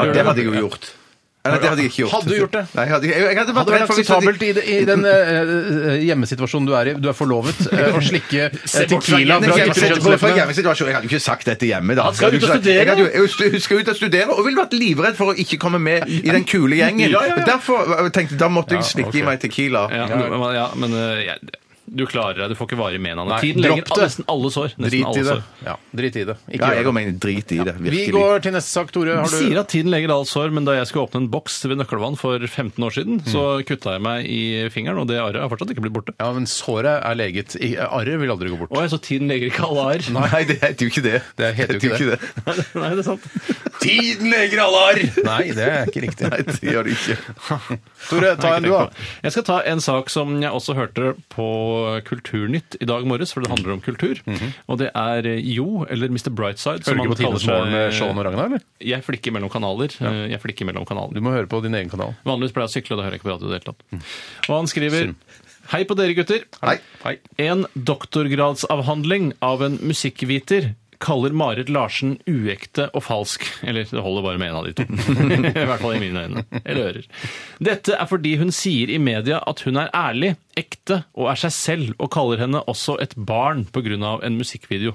ja, det hadde jeg jo gjort. Eller, det hadde jeg ikke gjort.
Hadde du gjort det?
Nei, jeg hadde, jeg, jeg hadde vært
Hadde det
redd
vært
for hvis jeg-
akseptabelt i, i den eh, eh, hjemmesituasjonen du er i, du er forlovet, eh, å slikke eh, tequila fra
Nei, jeg-
ytre
jeg- jeg- jeg-
kjønnsleppene?
hjemmesituasjon. Jeg hadde jo ikke sagt dette hjemme. da.
Han skal ut og
Jeg hadde jo ikke sagt-
studere.
Jeg, hadde jo, jeg skal ut og studere, og ville vært livredd for å ikke komme med i den kule gjengen.
Ja, ja, ja.
Derfor øh, tenkte jeg, da måtte jeg slikke i
ok.
meg tequila.
Ja, men- ja, men eh, jeg- du klarer deg. Du får ikke vare med en
Nei,
Tiden
dropp
lenger
det.
nesten alle sår. Nesten
Drit
alle
i det.
sår.
Ja, drit i det.
Ja,
Ikke
jeg
gjør
og
det.
mener drit i det.
Vi
Virkelig.
går til neste sak, Tore.
De
Har
sier
du
at tiden legger alle sår, men da jeg skulle åpne en boks ved Nøkkelvann for 15 år siden, så kutta jeg meg i fingeren, og det arret har fortsatt ikke blitt borte.
Mm. ja, men såret er leget. I- Arret vil aldri gå bort.
Oi, så tiden leger ikke alle arr.
Nei, det heter jo ikke det.
Det heter jo ikke det.
Nei, det er sant.
Tiden leger alle arr! Nei, det er ikke riktig.
Nei, det gjør det ikke.
Tore, ta en du, da.
Jeg skal ta en sak som jeg også hørte på Kulturnytt i dag morges, for det handler om kultur. Og det er eh, Jo, eller Mr. Brightside,
Mhm. Hører
som
du
han
ikke på
kaller
Tidenes morgen eh, med Sean og
seg.
Ragnar, eller?
Jeg flikker mellom kanaler. eh, Jeg flikker mellom kanaler.
Du må høre på din egen kanal.
Vanligvis pleier jeg å sykle, og da hører jeg ikke på radio i det hele tatt. Og han skriver Hei på dere, gutter.
Nei.
Mm. Hei.
En doktorgradsavhandling av en musikkviter kaller Marit Larsen uekte og falsk. Eller det holder bare med en av de to. I hvert fall i mine øyne. Eller ører. Dette er fordi hun sier i media at hun er ærlig, ekte og er seg selv, og kaller henne også et barn pga. en musikkvideo.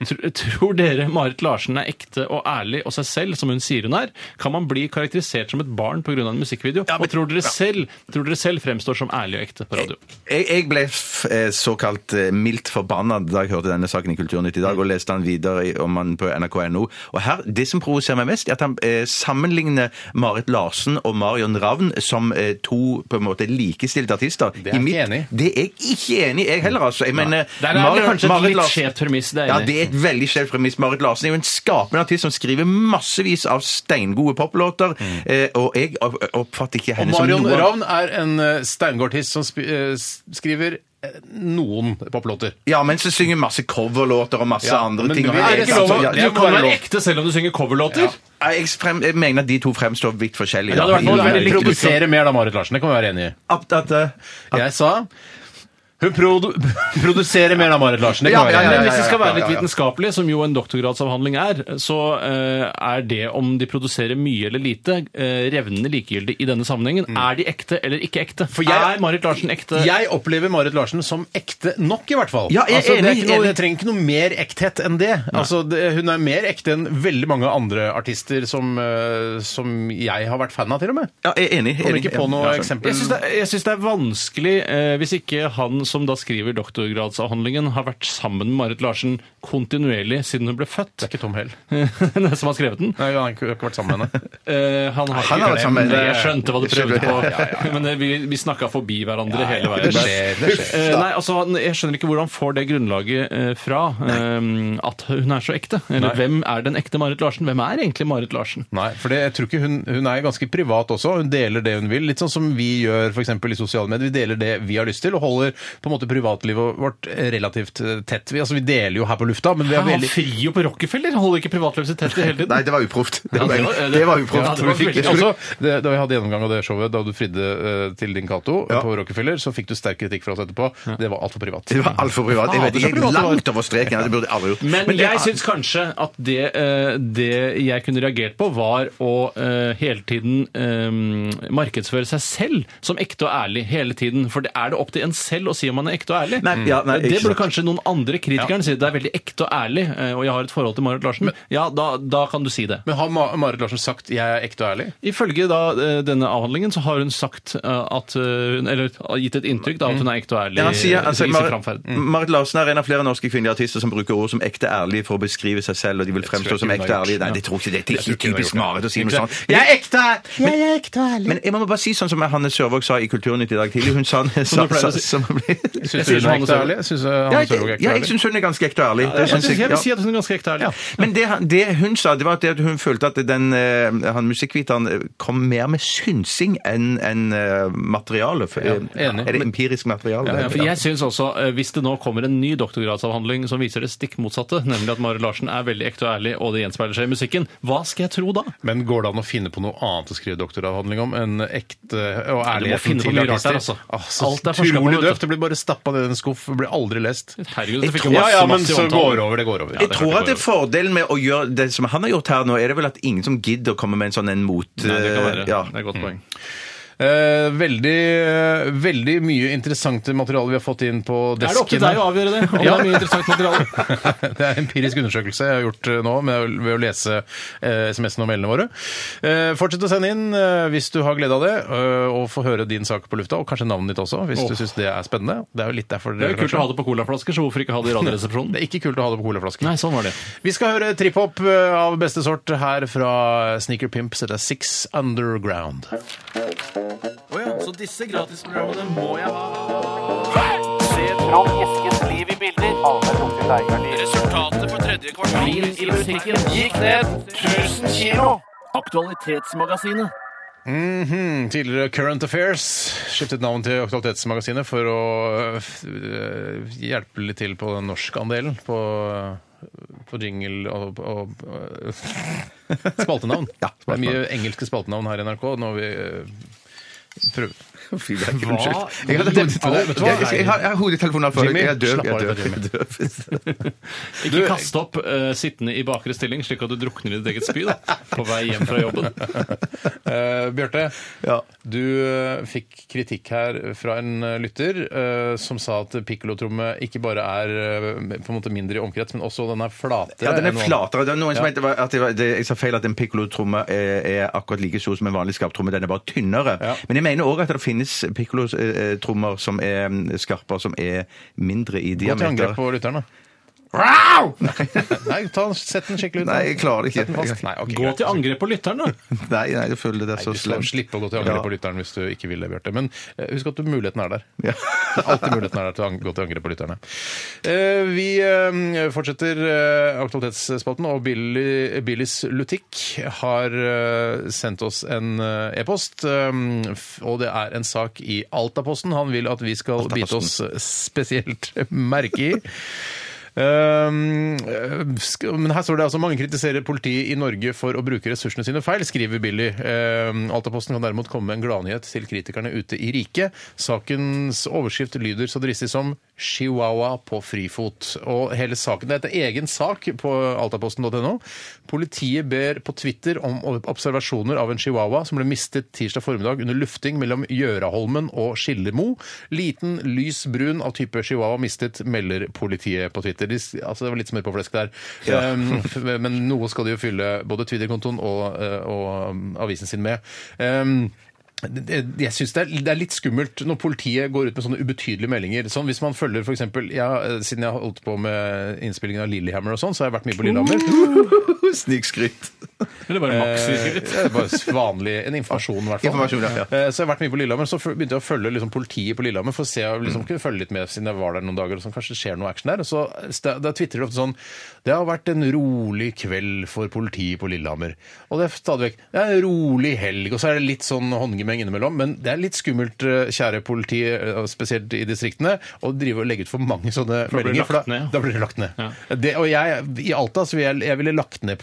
Tr- Tror dere Marit Larsen er ekte og ærlig og seg selv, som hun sier hun er? Kan man bli karakterisert som et barn pga. en musikkvideo? og tror dere, selv, tror dere selv fremstår som ærlig og ekte på radio?
Jeg, jeg ble f eh, såkalt eh, mildt forbanna da jeg hørte denne saken i Kulturnytt i dag,
Mm.
og leste den videre i- om han på nrk.no. Og her, Det som provoserer meg mest, er at han eh, sammenligner Marit Larsen og Marion Ravn som eh, to på en måte likestilte artister.
er jeg ikke enig i.
Det er jeg ikke enig i, jeg heller, altså. Jeg mener,
Der er det
Marion-
kanskje et
Marit
litt
Larsen-
skjevt premiss, det er jeg
Ja,
enig i.
det er et veldig skjevt premiss. Marit Larsen er jo en skapende artist som skriver massevis av steingode poplåter,
Mm.
eh, og jeg oppfatter ikke
Og
henne som
Marion
noe
Ravn er en eh, steingartist som sp eh, s- skriver eh, noen poplåter.
Ja, men så synger masse coverlåter og masse
Ja,
andre
men
ting.
det er ikke lov å-
Ja,
det
Du
må
kan
være
være
lov.
ekte selv om du synger coverlåter.
Nei, jeg, frem, jeg mener at de to fremstår vidt forskjellige.
Ja, det hadde vært
da.
noe veldig
Hun
riktig.
provoserer
liksom-
mer da, Marit Larsen. Det kan vi være enig i.
At- at, eh,
Jeg sa hun produ produserer mer da, Marit Larsen. Det
Ja,
kan vi være enig i.
ja,
Men hvis det skal være
ja,
litt
ja, ja.
vitenskapelig, som jo en doktorgradsavhandling er, så eh, er det om de produserer mye eller lite, eh, revnende likegyldig i denne sammenhengen. Er de ekte eller ikke ekte?
Mm. For jeg-
er Marit Larsen ekte?
Jeg opplever Marit Larsen som ekte nok, i hvert fall.
Ja, jeg er
altså, det,
enig,
er ikke noe,
enig.
det trenger ikke noe mer ekthet enn det. Altså, det. Hun er mer ekte enn veldig mange andre artister som, eh, som jeg har vært fan av, til og med.
ja, jeg er enig.
Kommer
enig.
ikke på
Ja,
noe
ja, sånn. skjønner.
eksempel.
Jeg syns det, jeg synes det er vanskelig eh, hvis ikke han som da skriver doktorgradsavhandlingen, har vært sammen med Marit Larsen kontinuerlig siden hun ble født.
er ikke Tom Hell.
Det er som har skrevet den.
Nei, han har ikke ikke vært sammen med henne.
Eh, han har
han har vært
ikke
sammen med-
det. Jeg skjønte hva du prøvde på.
Ja,
Men eh, vi, vi snakka forbi hverandre hele veien.
Det skjer, det skjer.
Eh, nei, altså, han- Jeg skjønner ikke hvor han får det grunnlaget eh, fra eh, at hun er så ekte. Eller
Nei.
hvem er den ekte Marit Larsen? Hvem er egentlig Marit Larsen?
Nei, for det, jeg tror ikke hun, hun er ganske privat også. Hun deler det hun vil. Litt sånn som vi gjør for eksempel i sosiale medier. Vi deler det vi har lyst til, og holder på en måte privatlivet vårt relativt eh, tett. Vi, altså, vi deler jo her på lufta, men vi er
Han
veldig
frir jo på Rockefeller! Han Holder ikke privatlivet sitt tett i hele tiden.
Nei, det var uproft. Det var,
det var-
det var
Ja,
uproft.
det var
Vi fikk-
veldig-
det skulle-
Også, det, da vi hadde gjennomgang av det showet da du fridde eh, til din Cato eh,
Ja.
på Rockefeller, så fikk du sterk kritikk fra oss etterpå. Det var altfor privat.
det var altfor privat. Jeg
Fader, så
vet ikke,
privat Ah, det var.
Langt over streken. ja, Det burde jeg aldri gjort.
Men,
det-
jeg syns kanskje at det, eh, det jeg kunne reagert på, var å eh, hele tiden eh, markedsføre seg selv som ekte og ærlig hele tiden. For det er det opp til en selv å si om man er ekte og ærlig. Eh,
Nei, ja, nei,
det
ikke
burde
sant.
kanskje noen andre kritikerne si. Det er veldig ekte og ærlig, eh, og jeg har et forhold til Marit Larsen. Ja, da, da kan du si det.
Men har Ma- Marit Larsen sagt 'jeg er ekte og ærlig'?
Ifølge da, eh, denne avhandlingen så har hun sagt eh, at eh, hun Eller har gitt et inntrykk da, at hun er ekte og ærlig
Ja, han sier, han
eh,
sier,
i sin
Marit,
framferd.
Marit Larsen er en av flere norske kvinnelige artister som bruker ord som ekte ærlige for å beskrive seg selv, og de vil fremstå
ikke
som
hun
ekte
har gjort.
ærlige. Nei, det tror ikke det. Det er
Jeg tror
ikke
ikke hun har
typisk
gjort det.
Marit å si noe
Ikke
sånt.
sant?
Jeg er ekte! Men, jeg er ekte ærlig. Men jeg må bare si sånn som Hanne Sørvåg sa i Kulturnytt i dag tidlig. Hun sa
Som du pleier å si.
som hun ble-
Syns
synes
du hun er
Hanne
ekte og
Sørvåg-
ærlig? Syns du
Ja,
Hanne
jeg,
Sørvåg er ekte
ja,
og
jeg
ærlig?
syns hun er ganske ekte og ærlig. Det
Jeg,
synes
synes- jeg vil
ja.
si at hun er ganske ekte og ærlig.
Men det, han- det hun sa, det var at hun følte at den, eh, han musikkviteren eh, kom mer med synsing enn enn, eh, materiale. For-
enig.
Er det empirisk materiale?
Ja, for jeg synes også, eh, Hvis det nå kommer en ny doktorgradsavhandling som viser det stikk motsatte, nemlig at Marit Larsen er veldig ekte og ærlig, og det gjenspeiler seg i musikken, hva skal jeg tro da?
Men går det an å finne på noe annet å skrive doktoravhandling om enn ekte og ærligheten
finne på
til
mye rart
artister?
der, altså.
Ah, så
Alt er forsket på,
utrolig
vet du.
døvt. Det blir bare stappa ned i en skuff og blir aldri lest.
Herregud, det fikk
tror-
masse,
Ja, ja, men
masse
så
omtale.
går det over. Det går over. Ja,
Jeg
det er
tror
klart
at det
det
er
går over.
fordelen med å gjøre det som han har gjort her nå, er det vel at ingen som gidder å komme med en sånn en mot...
Nei, det kan være.
Ja.
Det er et godt poeng.
Eh, veldig, eh, veldig mye interessante materiale vi har fått inn på
Er det opp til
desken.
deg å avgjøre det? Om det er mye interessant materiale?
det er en empirisk undersøkelse jeg har gjort eh, nå med, ved å lese eh, SMS-ene og mailene våre. Eh, fortsett å sende inn eh, hvis du har glede av det, eh, og få høre din sak på lufta, og kanskje navnet ditt også, hvis
Åh.
du syns det er spennende. Det er jo litt derfor sånn.
Det er jo kult å ha det på colaflasker, så hvorfor ikke ha
Det
det i Radioresepsjonen?
er ikke kult å ha det på colaflaske.
Nei, sånn var det.
Vi skal høre trip-hop eh, av beste sort her fra Sneaker Pimp. Dette er Six Underground.
Så disse gratisprogrammene må jeg ha. Resultatet på tredje kvartal i musikken gikk ned 1000 kilo. Aktualitetsmagasinet.
Mhm, Tidligere Current Affairs skiftet navn til Aktualitetsmagasinet for å øh, f- øh, hjelpe litt til på den norskandelen på, øh, på jingle og, og øh, spaltenavn. det
Ja,
er
spaltenavn.
mye engelske spaltenavn her i NRK når vi øh, prøver
Fy, det er ikke
Hva?
unnskyld. Jeg hadde hodetelefoner.
Vet du hva?
Jeg, jeg, jeg, har- jeg har hodetelefoner for deg.
Jimmy,
Jeg er døv.
slapp
Jeg
av
er
litt,
døv. Jeg er døv.
Ikke kast opp eh, sittende i bakre stilling, slik at du drukner i ditt eget spy da, på vei hjem fra jobben.
Eh, Bjarte,
Ja.
du eh, fikk kritikk her fra en eh, lytter eh, som sa at pikkolotromme ikke bare er eh, på en måte mindre i omkrets, men også den er flatere.
Ja, den er
enn vanlig.
flatere. Det er noen som
Ja.
mente var- at det var, det, jeg sa feil at en piccolo-tromme er, er akkurat like stor som en vanlig skarptromme. Den er bare tynnere.
Ja.
Men jeg mener òg at det finnes piccolo-trommer som er mm, skarpere, som er mindre i
Gå til
diameter.
angrep på lytteren, da. Nei, ta, sett den skikkelig ut. da.
Nei, jeg klarer ikke.
Sett den fast. Nei, ok,
Gå
greit.
til angrep på lytteren, da!
Nei, nei, jeg føler det er så
Du skal
slemt.
slippe å gå til angrep
Ja.
på lytteren hvis du ikke vil det, Bjarte. Men eh, husk at du, muligheten er der.
Ja.
Det er Alltid muligheten er der til å ang- gå til angrep på lytterne. Eh, Vi eh, fortsetter eh, aktualitetsspalten, og Billy, Billys Lutikk har eh, sendt oss en eh, e-post. eh, f- Og det er en sak i Altaposten han vil at vi skal bite oss spesielt merke i. Um, sk- men her står det altså mange kritiserer politiet i Norge for å bruke ressursene sine feil, skriver Billy. Um, Altaposten kan derimot komme med en gladnyhet til kritikerne ute i riket. Sakens overskrift lyder så dristig som 'Chihuahua på frifot'. Og hele saken Det er egen sak på altaposten.no. Politiet ber på Twitter om observasjoner av en chihuahua som ble mistet tirsdag formiddag under lufting mellom Gjøraholmen og Skillemo. Liten, lys brun av type chihuahua mistet, melder politiet på Twitter. De, s- altså, det var litt smør på flesk der. Um, f- men noe skal de jo fylle både Twitter-kontoen og, eh, og um, avisen sin med. Um, det- det- jeg synes det, er- det er litt skummelt når politiet går ut med sånne ubetydelige meldinger. Sånn Hvis man følger f.eks. Ja, eh, siden jeg har holdt på med innspillingen av Lillehammer og sånn, så har jeg vært mye på Lillehammer.
Snikskryt.
Eller bare maksutskritt.
Eh, bare s- vanlig, en informasjon, i hvert fall.
Informasjon, ja, ja.
Eh, Så jeg har vært mye på Lillehammer, så f- begynte jeg å følge liksom, politiet på Lillehammer for å se, liksom, kunne følge litt med siden jeg var der noen dager, og sånn, kanskje det skjer noe action der. Så st- da twitterer de ofte sånn Det har vært en rolig kveld for politiet på Lillehammer. Og det er stadig vekk Det er en rolig helg, og så er det litt sånn håndgemeng innimellom, men det er litt skummelt, eh, kjære politi, eh, spesielt i distriktene, å drive og legge ut for mange sånne
blir det
meldinger. For
lagt ned,
da,
ja.
da blir det lagt ned. Det, og jeg, i Alta, så ville jeg, jeg ville lagt ned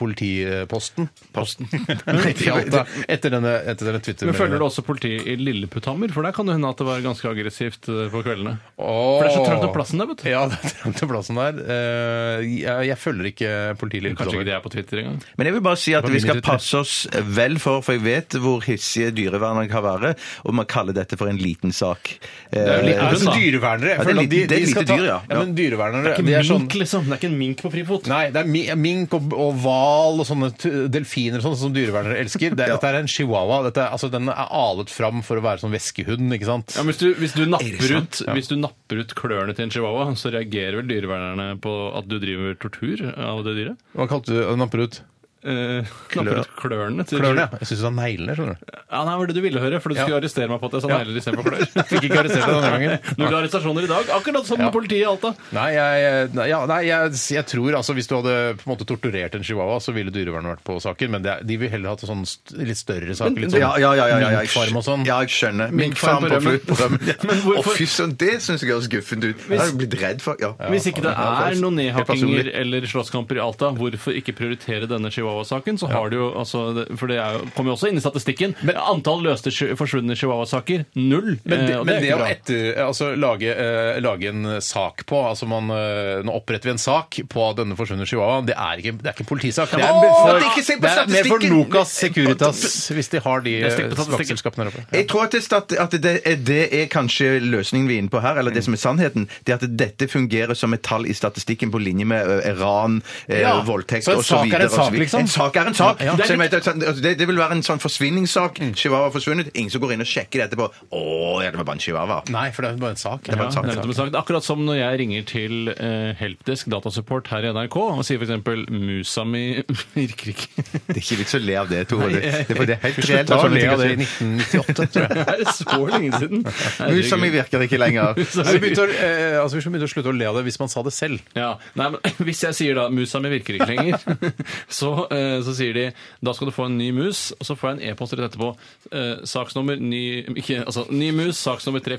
politiposten.
Posten.
Nei, ikke i Alta. Etter denne, etter denne
Men følger du
Twitter-meldingen.
også politiet i Lilleputthammer? For der kan det hende at det var ganske aggressivt eh, på kveldene.
Åh.
For det er så trangt om plassen der, vet du.
Ja, det er trangt om plassen der. Eh, Jeg, jeg følger ikke politiet litt.
Kanskje ikke det er på Twitter engang.
Men jeg vil bare si at
var
vi skal
mindre til.
passe oss vel for, for jeg vet hvor hissige dyrevernere kan være, og man kaller dette for en liten sak.
Det er jo litt
Eh,
altså,
da.
dyrevernere. Jeg
Ja, det er
føler at de-
lite- det er
de skal
lite
ta-
dyr, ja.
ja. Men dyrevernere,
Ikke
de er sånn
mink, liksom. Det er ikke en mink på frifot.
Nei, det er mi- mink og, og hval og sånne t- delfiner og sånne som dyrevernere elsker. Det, Dette er en chihuahua. Dette er, altså, den er alet fram for å være sånn veskehund, ikke sant?
Ja, men hvis, du, hvis, du napper ut, hvis du napper ut klørne til en chihuahua, så reagerer vel dyrevernerne på at du driver tortur av det dyret?
Hva kalte du den napper ut?
Eh, napper ut klørne til
Klørne, ja. Jeg syns du sa neglene, skjønner du.
Ja, nei, var det du ville høre, for du
Ja.
skulle arrestere meg på at jeg sa
Ja.
negler istedenfor klør.
Fikk ikke arrestert deg denne gangen.
Null arrestasjoner i dag, akkurat som
Ja.
politiet i Alta.
Nei, jeg, nei, ja, nei jeg, jeg tror altså Hvis du hadde på en måte torturert en chihuahua, så ville dyrevernet vært på saken, men det, er- de vil heller hatt sånn st- litt større saker. Litt sånn
Ja, ja, ja. ja, ja, jeg,
minkfarm og sånn.
ja jeg skjønner.
Minkfarm
Minkfarm
på
på
rømmen.
flukt på rømmen. Ja.
Men hvorfor-
Å, fy søren, det syns jeg høres guffent ut. Jeg har blitt redd for ja.
Hvis ikke det
Ja,
er noen
helt personlig.
nedhakkinger eller slåsskamper i Alta, hvorfor ikke prioritere denne chihuahua-saken? Så har du jo, altså, det- For det er jo, kommer jo også inn i statistikken. Antall løste chi- forsvunne chihuahua-saker null.
Men det,
Eh, og
men det
er
å
ikke bra.
etter, altså, lage, eh, lage en sak på altså man, eh, Nå oppretter vi en sak på denne forsvunne chihuahuaen. Det er ikke, det er ikke en politisak. Det er,
Åh,
for,
at ikke se på
det er mer for
statistikken!
Nokas Securitas, hvis de har de eh,
stikk på statistikken.
vaktselskapene der oppe.
Jeg tror at det, at det, er, det er kanskje løsningen vi er inne på her, eller
Mm.
det som er sannheten. Det er at dette fungerer som et tall i statistikken på linje med ø, ran, ø,
Ja,
voldtekt
så en
osv.
sak er en sak, liksom?
En sak er en sak.
Ja, Mm. ja.
Så jeg mener, at sånn- altså, det, det vil være en sånn forsvinningssak. Chihuahua har forsvunnet. Ingen som går inn og sjekker det etterpå. Å, ja, det var bare en chihuahua.
Nei, for det er bare en sak.
var en sak.
Ja, nevnte med sagt. Akkurat som når jeg ringer til eh, helpdesk datasupport her i NRK og sier f.eks. musa mi virker ikke.
Det er ikke vits å le av det, Tore. Det, det, for det er helt
Slutt
reelt.
å
at
le
sånne ting
av
er
det i
sånn.
1998, tror jeg.
Det er så lenge siden.
Musa mi
Herregud.
virker ikke lenger.
Altså, vi begynte å, eh, altså, vi skulle begynne å slutte å le av det hvis man sa det selv.
Ja, nei, men Hvis jeg sier da 'musa mi virker ikke lenger', så eh, så sier de da skal du få en ny mus, og så får jeg en e-post rett etterpå. Eh, saksnummer ny ikke, altså, ny mus, saksnummer 346799112457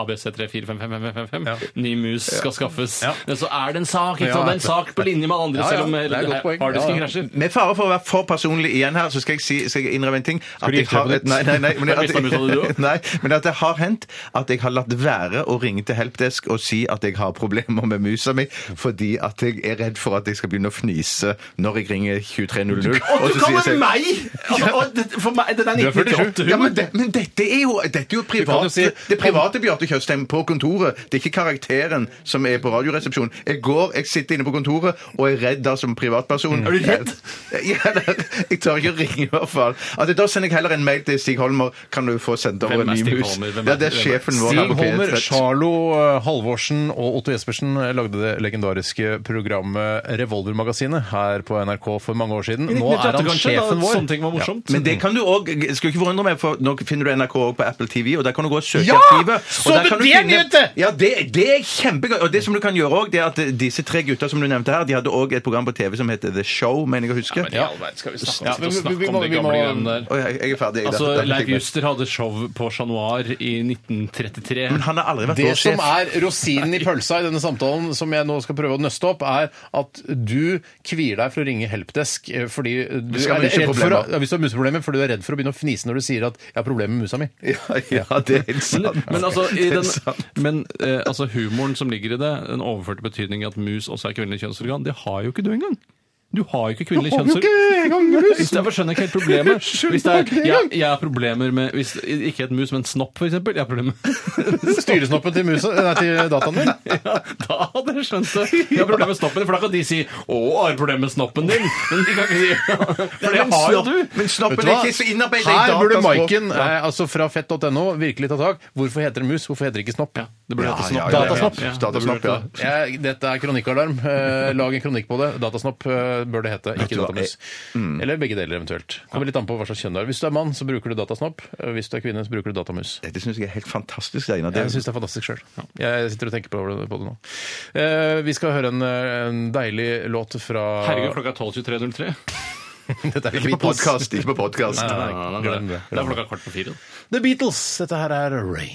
ABC34555555. Ny mus skal skaffes. Men Så er det en sak, ikke sant? Det er en sak på linje med alle andre,
Ja, ja.
selv om eh,
Det er et godt poeng.
harddisken
Ja, ja.
krasjer.
Med fare for å være for personlig igjen her, så skal jeg, si, skal jeg innrømme en ting. At
du
jeg
gifte deg
har,
på nytt?
nei, nei, nei, men, at,
Jeg mistet meg ut av det, du også.
nei, men at det har hendt at jeg har latt være å ringe til helpdesk og si at jeg har problemer med musa mi, fordi at jeg er redd for at jeg skal begynne å fnise når jeg ringer 2300.
Å, du
så
kaller
sier jeg-
meg?
Ja, Altså, og det- for meg, det er
Du er
1998.
47.
Ja, men, det, men dette er jo, dette er jo
kan jo
privat,
si-
det private Bjarte Tjøstheim på kontoret. Det er ikke karakteren som er på Radioresepsjonen. Jeg går, jeg sitter inne på kontoret og er redd da som privatperson. Er du redd? Ja, det- jeg tør ikke å ringe i hvert fall. Altså, da sender jeg heller en mail til Stig Holmer. Kan du få sendt over
Hvem
en
er
ny
Stig
mus?
Holmer? Hvem er-
Ja, det er
hvem er-
sjefen vår. her
Stig
på P1
Holmer,
Fett.
Charlo eh, Halvorsen og Otto Jespersen eh, lagde det legendariske programmet Revolvermagasinet her på NRK for mange år siden. Nå er han sjefen vår.
Sånne ting var morsomt.
Men det kan du òg Skulle ikke forundre meg, for nå finner du NRK også på Apple TV, og der kan du gå og søke
Ja!
arkivet.
Så
og der
du
kan
det, Njute?
Ja, det, det er kjempegøy. Og det som du kan gjøre òg, det er at eh, disse tre gutta som du nevnte her, de hadde òg et program på TV som heter The Show, mener jeg å huske.
Ja, men i all verden, skal vi snakke om,
Ja,
sitte og
vi- vi- vi
snakke
må-
om de
vi må-
gamle greiene der?
Å, jeg, jeg er ferdig. Jeg,
Altså,
Dette- dette
Leif
fikk meg.
Juster hadde show på Chat Noir i 1933.
Men han har aldri vært
Det
vår
som
sjef.
er rosinen i pølsa i denne samtalen, som jeg nå skal prøve å nøste opp, er at du kvier deg for å ringe helpdesk eh, fordi du
skal
er
ha
redd for å,
museproblemer.
ja, hvis du har museproblemer, fordi du er redd for å begynne å fnise når du sier at 'jeg har problemer med musa mi'.
Ja, ja, det er helt sant.
Men, altså, i
Det er
den,
sant.
men eh, altså, humoren som ligger i det, den overførte betydningen at mus også er kvinnelig kjønnsorgan, det har jo ikke du engang. Du har jo ikke kvinnelig kjønnsorgan. Hvis Derfor skjønner jeg ikke helt problemet. Hvis det er, jeg, jeg har problemer med hvis, Ikke et mus, men snopp, for eksempel. Jeg har problemer med
Styresnoppen til, musa, nei, til dataen din.
ja, Da hadde jeg skjønt det. Jeg har problemer med snoppen, for da kan de si 'Å, har du problemer med snoppen din?' Men de kan ikke si For det
Men
har jo
snopp-
du.
Men
Vet
snoppen
du
er
hva?
ikke så innarbeidet i
Her burde
dataspråk.
Maiken eh, altså fra fett.no virkelig ta tak. Hvorfor heter det mus? Hvorfor heter det ikke snopp?
Ja, det burde
Ja,
hete snopp.
ja, ja.
Datasnopp.
Ja,
Datasnopp, ja.
Jeg, dette er kronikkalarm. Eh, lag en kronikk på det. Datasnopp eh, bør det hete, ikke
du hva, Eh,
datamus.
mm.
Eller begge deler eventuelt. Kommer litt an på hva slags kjønn du er. Hvis du er mann, så bruker du datasnopp. Eh, Hvis du er kvinne, så bruker du datamus.
Dette syns jeg er helt fantastisk, Einar. Det
Jeg syns det er fantastisk sjøl. Jeg sitter og tenker på det, på det nå. Eh, vi skal høre en, eh, en deilig låt fra
Herregud, klokka er 12.23.03.
Dette er
Ikke på podkast, ikke på podkast.
Nei, nei, nei,
Glem
det.
det.
Det er klokka kvart på fire. da.
The Beatles. Dette her er Rain.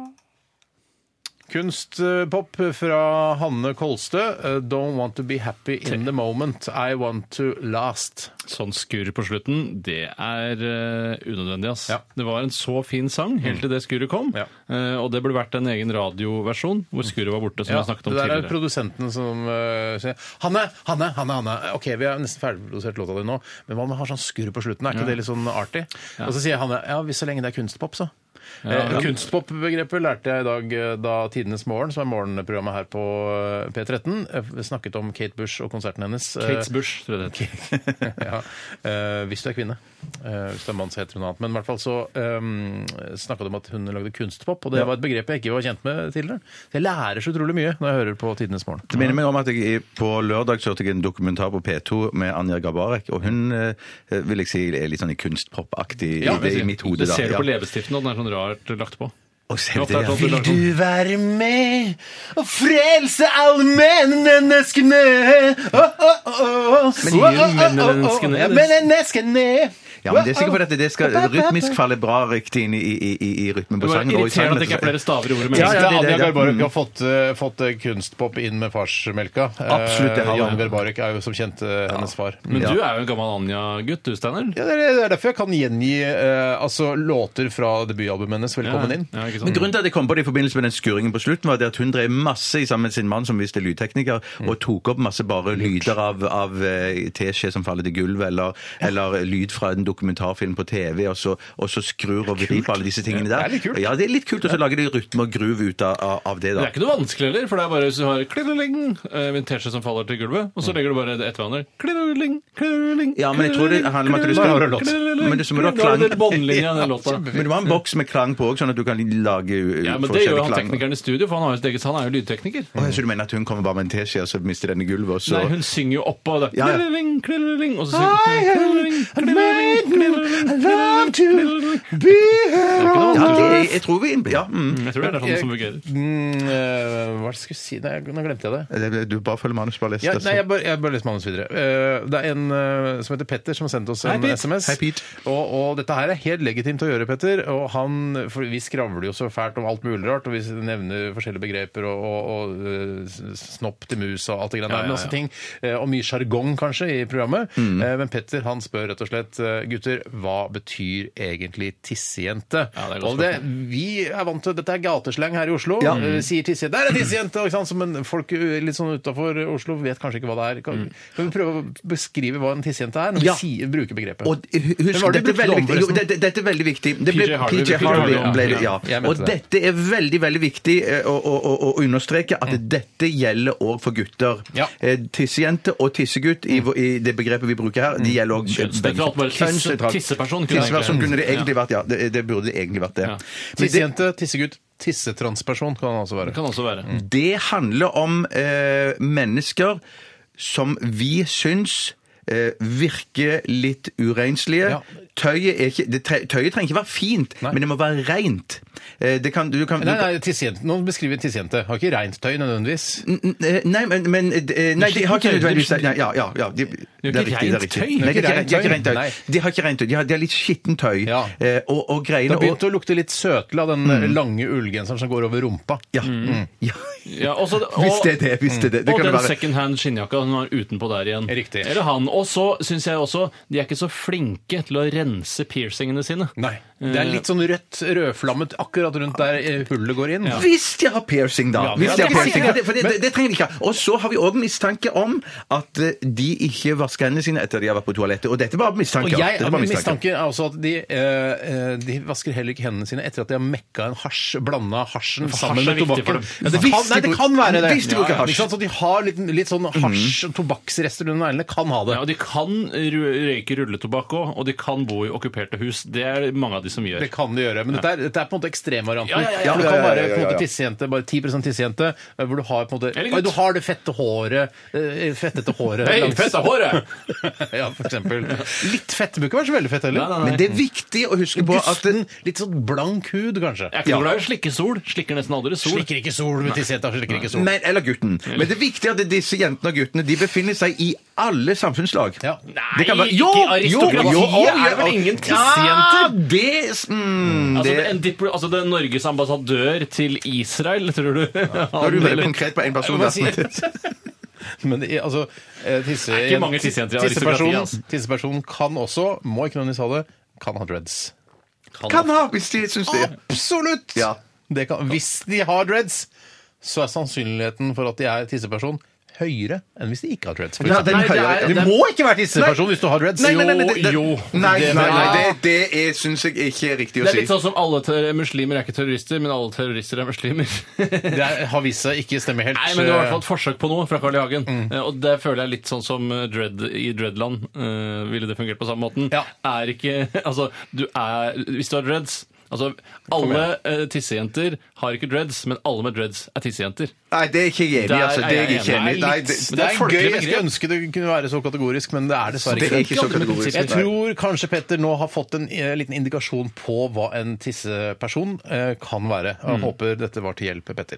Kunstpop fra Hanne Kolstø. Eh, Don't want to be happy in the moment. I want to last.
Sånn skurr på slutten, det er eh, unødvendig, ass.
Ja.
Det var en så fin sang helt til det skurret kom,
Ja.
eh, og det burde vært en egen radioversjon hvor skurret var borte, som
Ja,
jeg
det
snakket om
der er
tidligere.
produsenten som eh, sier Hanne, Hanne, Hanne, Hanne. Ok, vi har nesten ferdigprodusert låta di nå, men hva om vi har sånn skurr på slutten? Er ikke det litt sånn artig? Og så sier Hanne ja, hvis så lenge det er kunstpop, så. Eh, Kunstpop-begrepet lærte jeg i dag eh, da Tidenes morgen, som er morgenprogrammet her på eh, P13, eh, snakket om Kate Bush og konserten hennes. Eh,
Kates Bush, tror jeg det heter.
ja. Eh, hvis du er kvinne. Eh, hvis du er mann, så heter hun noe annet. Men i hvert fall så um, snakka du om at hun lagde kunstpop, og det var et begrep jeg ikke var kjent med tidligere. Så jeg lærer så utrolig mye når jeg hører på Tidenes morgen.
Det minner meg om at jeg i- på lørdag så hørte jeg en dokumentar på P2 med Anja Gabarek, og hun eh, vil jeg si er litt sånn i kunstpop-aktig i, det- i mitt hode.
det
da.
ser du på
Ja.
leppestiften, og den er sånn rart lagt på.
Og ser du
Ja,
det, ja.
for det er sånn- Vil
være med og frelse alle menneskene?
Men gir du
menneskene? Ja,
Ja, men det er sikkert fordi at det skal rytmisk falle bra riktig inn i, i, i, i rytmen på
Det var
sangen. og i
irriterende
sangen.
at det ikke er flere staver i ordet
Ja, ja,
menneske.
det-
Anja
det- Mm. det-
Garbarek har fått, eh, fått eh, kunstpop inn med farsmelka.
Absolutt, det har
Eh, Jan
han.
Garbarek er jo som kjent eh, hennes far.
Men
Ja. Mm.
du er jo en gammel Anja-gutt, du, Steinar.
Ja, det er, det er derfor jeg kan gjengi eh, altså, låter fra debutalbumet hennes. Velkommen inn.
Ja, ikke
Men
sant?
grunnen til at jeg kom på det i forbindelse med den skurringen på slutten, var det at hun drev masse i sammen med sin mann, som visst er lydtekniker,
Mm.
og tok opp masse bare lyder av, av eh, teskje som faller til gulvet, eller, eller lyd fra en dokumentarfilm på TV, og så, og så skrur og vrir på alle disse tingene
Det
der.
er litt kult.
Ja, det er litt kult, og så lager de rytme og groove ut av, av- av det,
Det
da.
er ikke noe vanskelig heller, for det er bare hvis du har klirreling, eh, en teskje som faller til gulvet, og så legger du bare det etter hverandre. Klirreling, klirreling,
Mm. Ja, men jeg tror det handler om at du
skal-
Men det som er da
Da er det
klang-
båndlinja, den låta.
Men du må ha en boks med klang på òg, sånn at du kan lage uh,
Ja, men det
forskjellige
gjør jo han
klang.
teknikeren i studio, for han, har jo sitt eget, han er jo lydtekniker.
Å, jeg så du mener at hun kommer bare med en teskje, og så mister den i gulvet, og så
Nei, hun synger jo oppå det.
Ja, ja.
Klirreling, klirreling, og så synger hun klirreling, klirreling, klirreling, klirreling.
ja, det, jeg, jeg tror vi ja, mm.
Jeg tror det er sånn som fungerer.
Mm, eh, hva skal jeg si? Nei, nå glemte jeg det.
Det- Du bare følger manus, bare les
Ja,
det. så-
nei, jeg bare, jeg bare leser manus videre. Eh, det er en eh, som heter Petter, som har sendt oss en
Hei, Pete.
SMS.
Hei, Pete.
Og, og dette her er helt legitimt å gjøre, Petter. Og han, for vi skravler jo så fælt om alt mulig rart, og vi nevner forskjellige begreper og, og, og eh, s- snopp til mus og alt det greiene
Ja,
der, men
ja,
også
ja. Mm.
ting. eh, og mye sjargong, kanskje, i programmet. Eh, men Petter han spør rett og slett eh, gutter, hva betyr egentlig tissejente?
Ja, det er et godt
og det, vi er vant til Dette er gatesleng her i Oslo.
Ja.
Eh, sier tissejente. Der er tissejente! Ikke sant? Så, Men folk uh, litt sånn utafor Oslo vet kanskje ikke hva det er.
Mm.
Kan, kan vi prøve å beskrive hva en tissejente er, når
Ja.
vi sier, bruker begrepet?
Og hu- husk,
Hvem var det
dette er
brukte
veldig
om,
viktig. Jo,
forresten?
dette, dette er veldig viktig. Det
PJ
ble
Harvey.
PJ Harvey.
Ja,
Ble det,
ja.
ja.
Jeg mente
Og
det.
dette er veldig, veldig viktig eh, å, å, å, å understreke at dette gjelder òg for gutter.
Ja.
Eh, Tissejente og tissegutt i, vår- i det begrepet vi bruker her, de gjelder òg
Kjønnsnøytralt, bare tisse- tisseperson kunne det
Tisseperson
egentlig-
kunne det egentlig vært, ja. Det, det burde egentlig vært det.
Ja.
Men det,
Tissejente, tissegutt, tissetransperson kan han altså
Det
være.
kan også være.
det handler om eh, mennesker som vi syns eh, virker litt urenslige.
Ja.
Tøyet, er ikke, det, tre- tøyet trenger ikke være fint,
Nei.
men det må være rent. Eh, det kan, du kan,
Nei, nei, tissejente. Nå beskriver vi en tissejente. Har ikke reint tøy nødvendigvis.
N- n- eh, Nei, men, men eh, Nei, de har ikke
Tøy, det er
nødvendigvis
ikke-
nei, Ja, ja. ja de, det
ikke
riktig, det
rent
riktig.
tøy.
Nei, de har ikke rent- de har ikke rent tøy.
Nei.
De har ikke rent tøy. De har, de har litt skittent tøy.
Ja.
Eh, og, og
Det
greiene
har begynt å lukte litt søtle av den eh, lange ullgenseren som går over rumpa.
og, ja. ja.
Ja, også, og,
Hvis det er det. Hvis det er det. det
og
kan
den
være-
second hand skinnjakka hun har utenpå der igjen.
Riktig.
Eller han. Og så syns jeg også de er ikke så flinke til å rense piercingene sine.
Nei. Det er litt sånn rødt, rødflammet akkurat rundt der eh, hullet går inn.
Hvis de har piercing, da.
Ja,
Hvis
ja,
de har
det kan
piercing,
jeg si,
det, for det, det, det trenger de ikke. ha. Og så har vi òg mistanke om at eh, de ikke vasker hendene sine etter de har vært på toalettet. Og dette var
Og
mistanker.
jeg,
Dette var
min
mistanker.
mistanke er også at de, eh, eh, de vasker heller ikke hendene sine etter at de har mekka en hasj, blanda hasjen
For
sammen
hasj er
med
viktig for
tobakken.
dem.
Ja, det,
Hvis
kan,
de
nei, det
bruker-
kan være det.
hvis de bruker
Ja, ja.
hasj.
Ikke sant? Så de har litt, litt sånn hasj- og tobakksrester under neglene. Kan ha det.
Ja, og de kan ru- røyke rulletobakk òg, og de kan bo i okkuperte hus. Det er det mange av de som gjør.
Det kan de gjøre, men dette er, dette er på en måte ekstremvarianten.
Ja, ja, ja,
ja.
For Det
Ja,
kan
ja, ja,
være på en
ja, ja.
måte tissejente, bare 10 tissejente, eh, hvor du har på en måte
Eller
Oi,
gutt.
Du har det fette håret eh, Fettete håret
Hei,
langs-
fett av håret!
ja, for eksempel. Litt fett. Det bør ikke være så veldig fett heller.
Nei, nei, nei.
Men det er viktig å huske på at
Gusten, litt sånn blank hud, kanskje.
Jeg er ikke noe glad i å slikke sol. Slikker nesten aldri sol.
Slikker ikke sol, men tissejenta slikker ikke sol.
men, Eller gutten. Men det er viktig at disse jentene og guttene De befinner seg i alle samfunnslag.
Ja.
Det kan være-
ikke
jo, jo,
aristokratiet
jo, jo,
er vel
jo.
ingen tissejenter?
Ja, det, mm,
Altså,
det
en diplo, altså det er Norges ambassadør til Israel, tror du?
Da er du veldig
Han-
konkret på én person.
Jeg må
da.
si- Men i- altså eh, tisse,
Det er ikke mange tissejenter i aristokratiet, altså.
tissepersonen, tissepersonen kan også, må ikke nødvendigvis ha det, kan ha dreads.
Kan ha, hvis de syns det.
Absolutt!
Ja.
Det kan, hvis de har dreads, så er sannsynligheten for at de er tisseperson høyere enn hvis de ikke har dreads. For
Ja, den
eksempel.
høyere, ja.
du må ikke være tisseperson hvis du har dreads.
Nei, nei, nei, det- det-
jo, jo.
Nei,
Det-
nei, nei, det, det er- syns jeg ikke er riktig å
Det
si.
er litt sånn som alle ter- muslimer er ikke terrorister, men alle terrorister er muslimer.
Det er- har vist seg ikke stemme helt.
Nei, men det var i hvert fall et forsøk på noe fra Carl I. Hagen. Eh, Og det føler jeg litt sånn som eh, Dread i Dreadland. eh, ville det fungert på samme måten?
Ja.
Er ikke Altså, du er Hvis du har dreads Altså, alle eh, tissejenter har ikke dreads, men alle med dreads er tissejenter.
Nei, det er ikke jeg enig
Der
i. Altså,
er
det er jeg
jeg
ikke enig
enig.
i.
Nei,
Nei,
litt-
det,
men
Det er
Det er
gøy.
folkelig
Jeg skulle
begrep.
ønske det kunne være så kategorisk, men det er dessverre
det er
ikke.
ikke så kategorisk.
Jeg tror kanskje Petter nå har fått en eh, liten indikasjon på hva en tisseperson eh, kan være. Jeg Håper dette var til hjelp, Petter.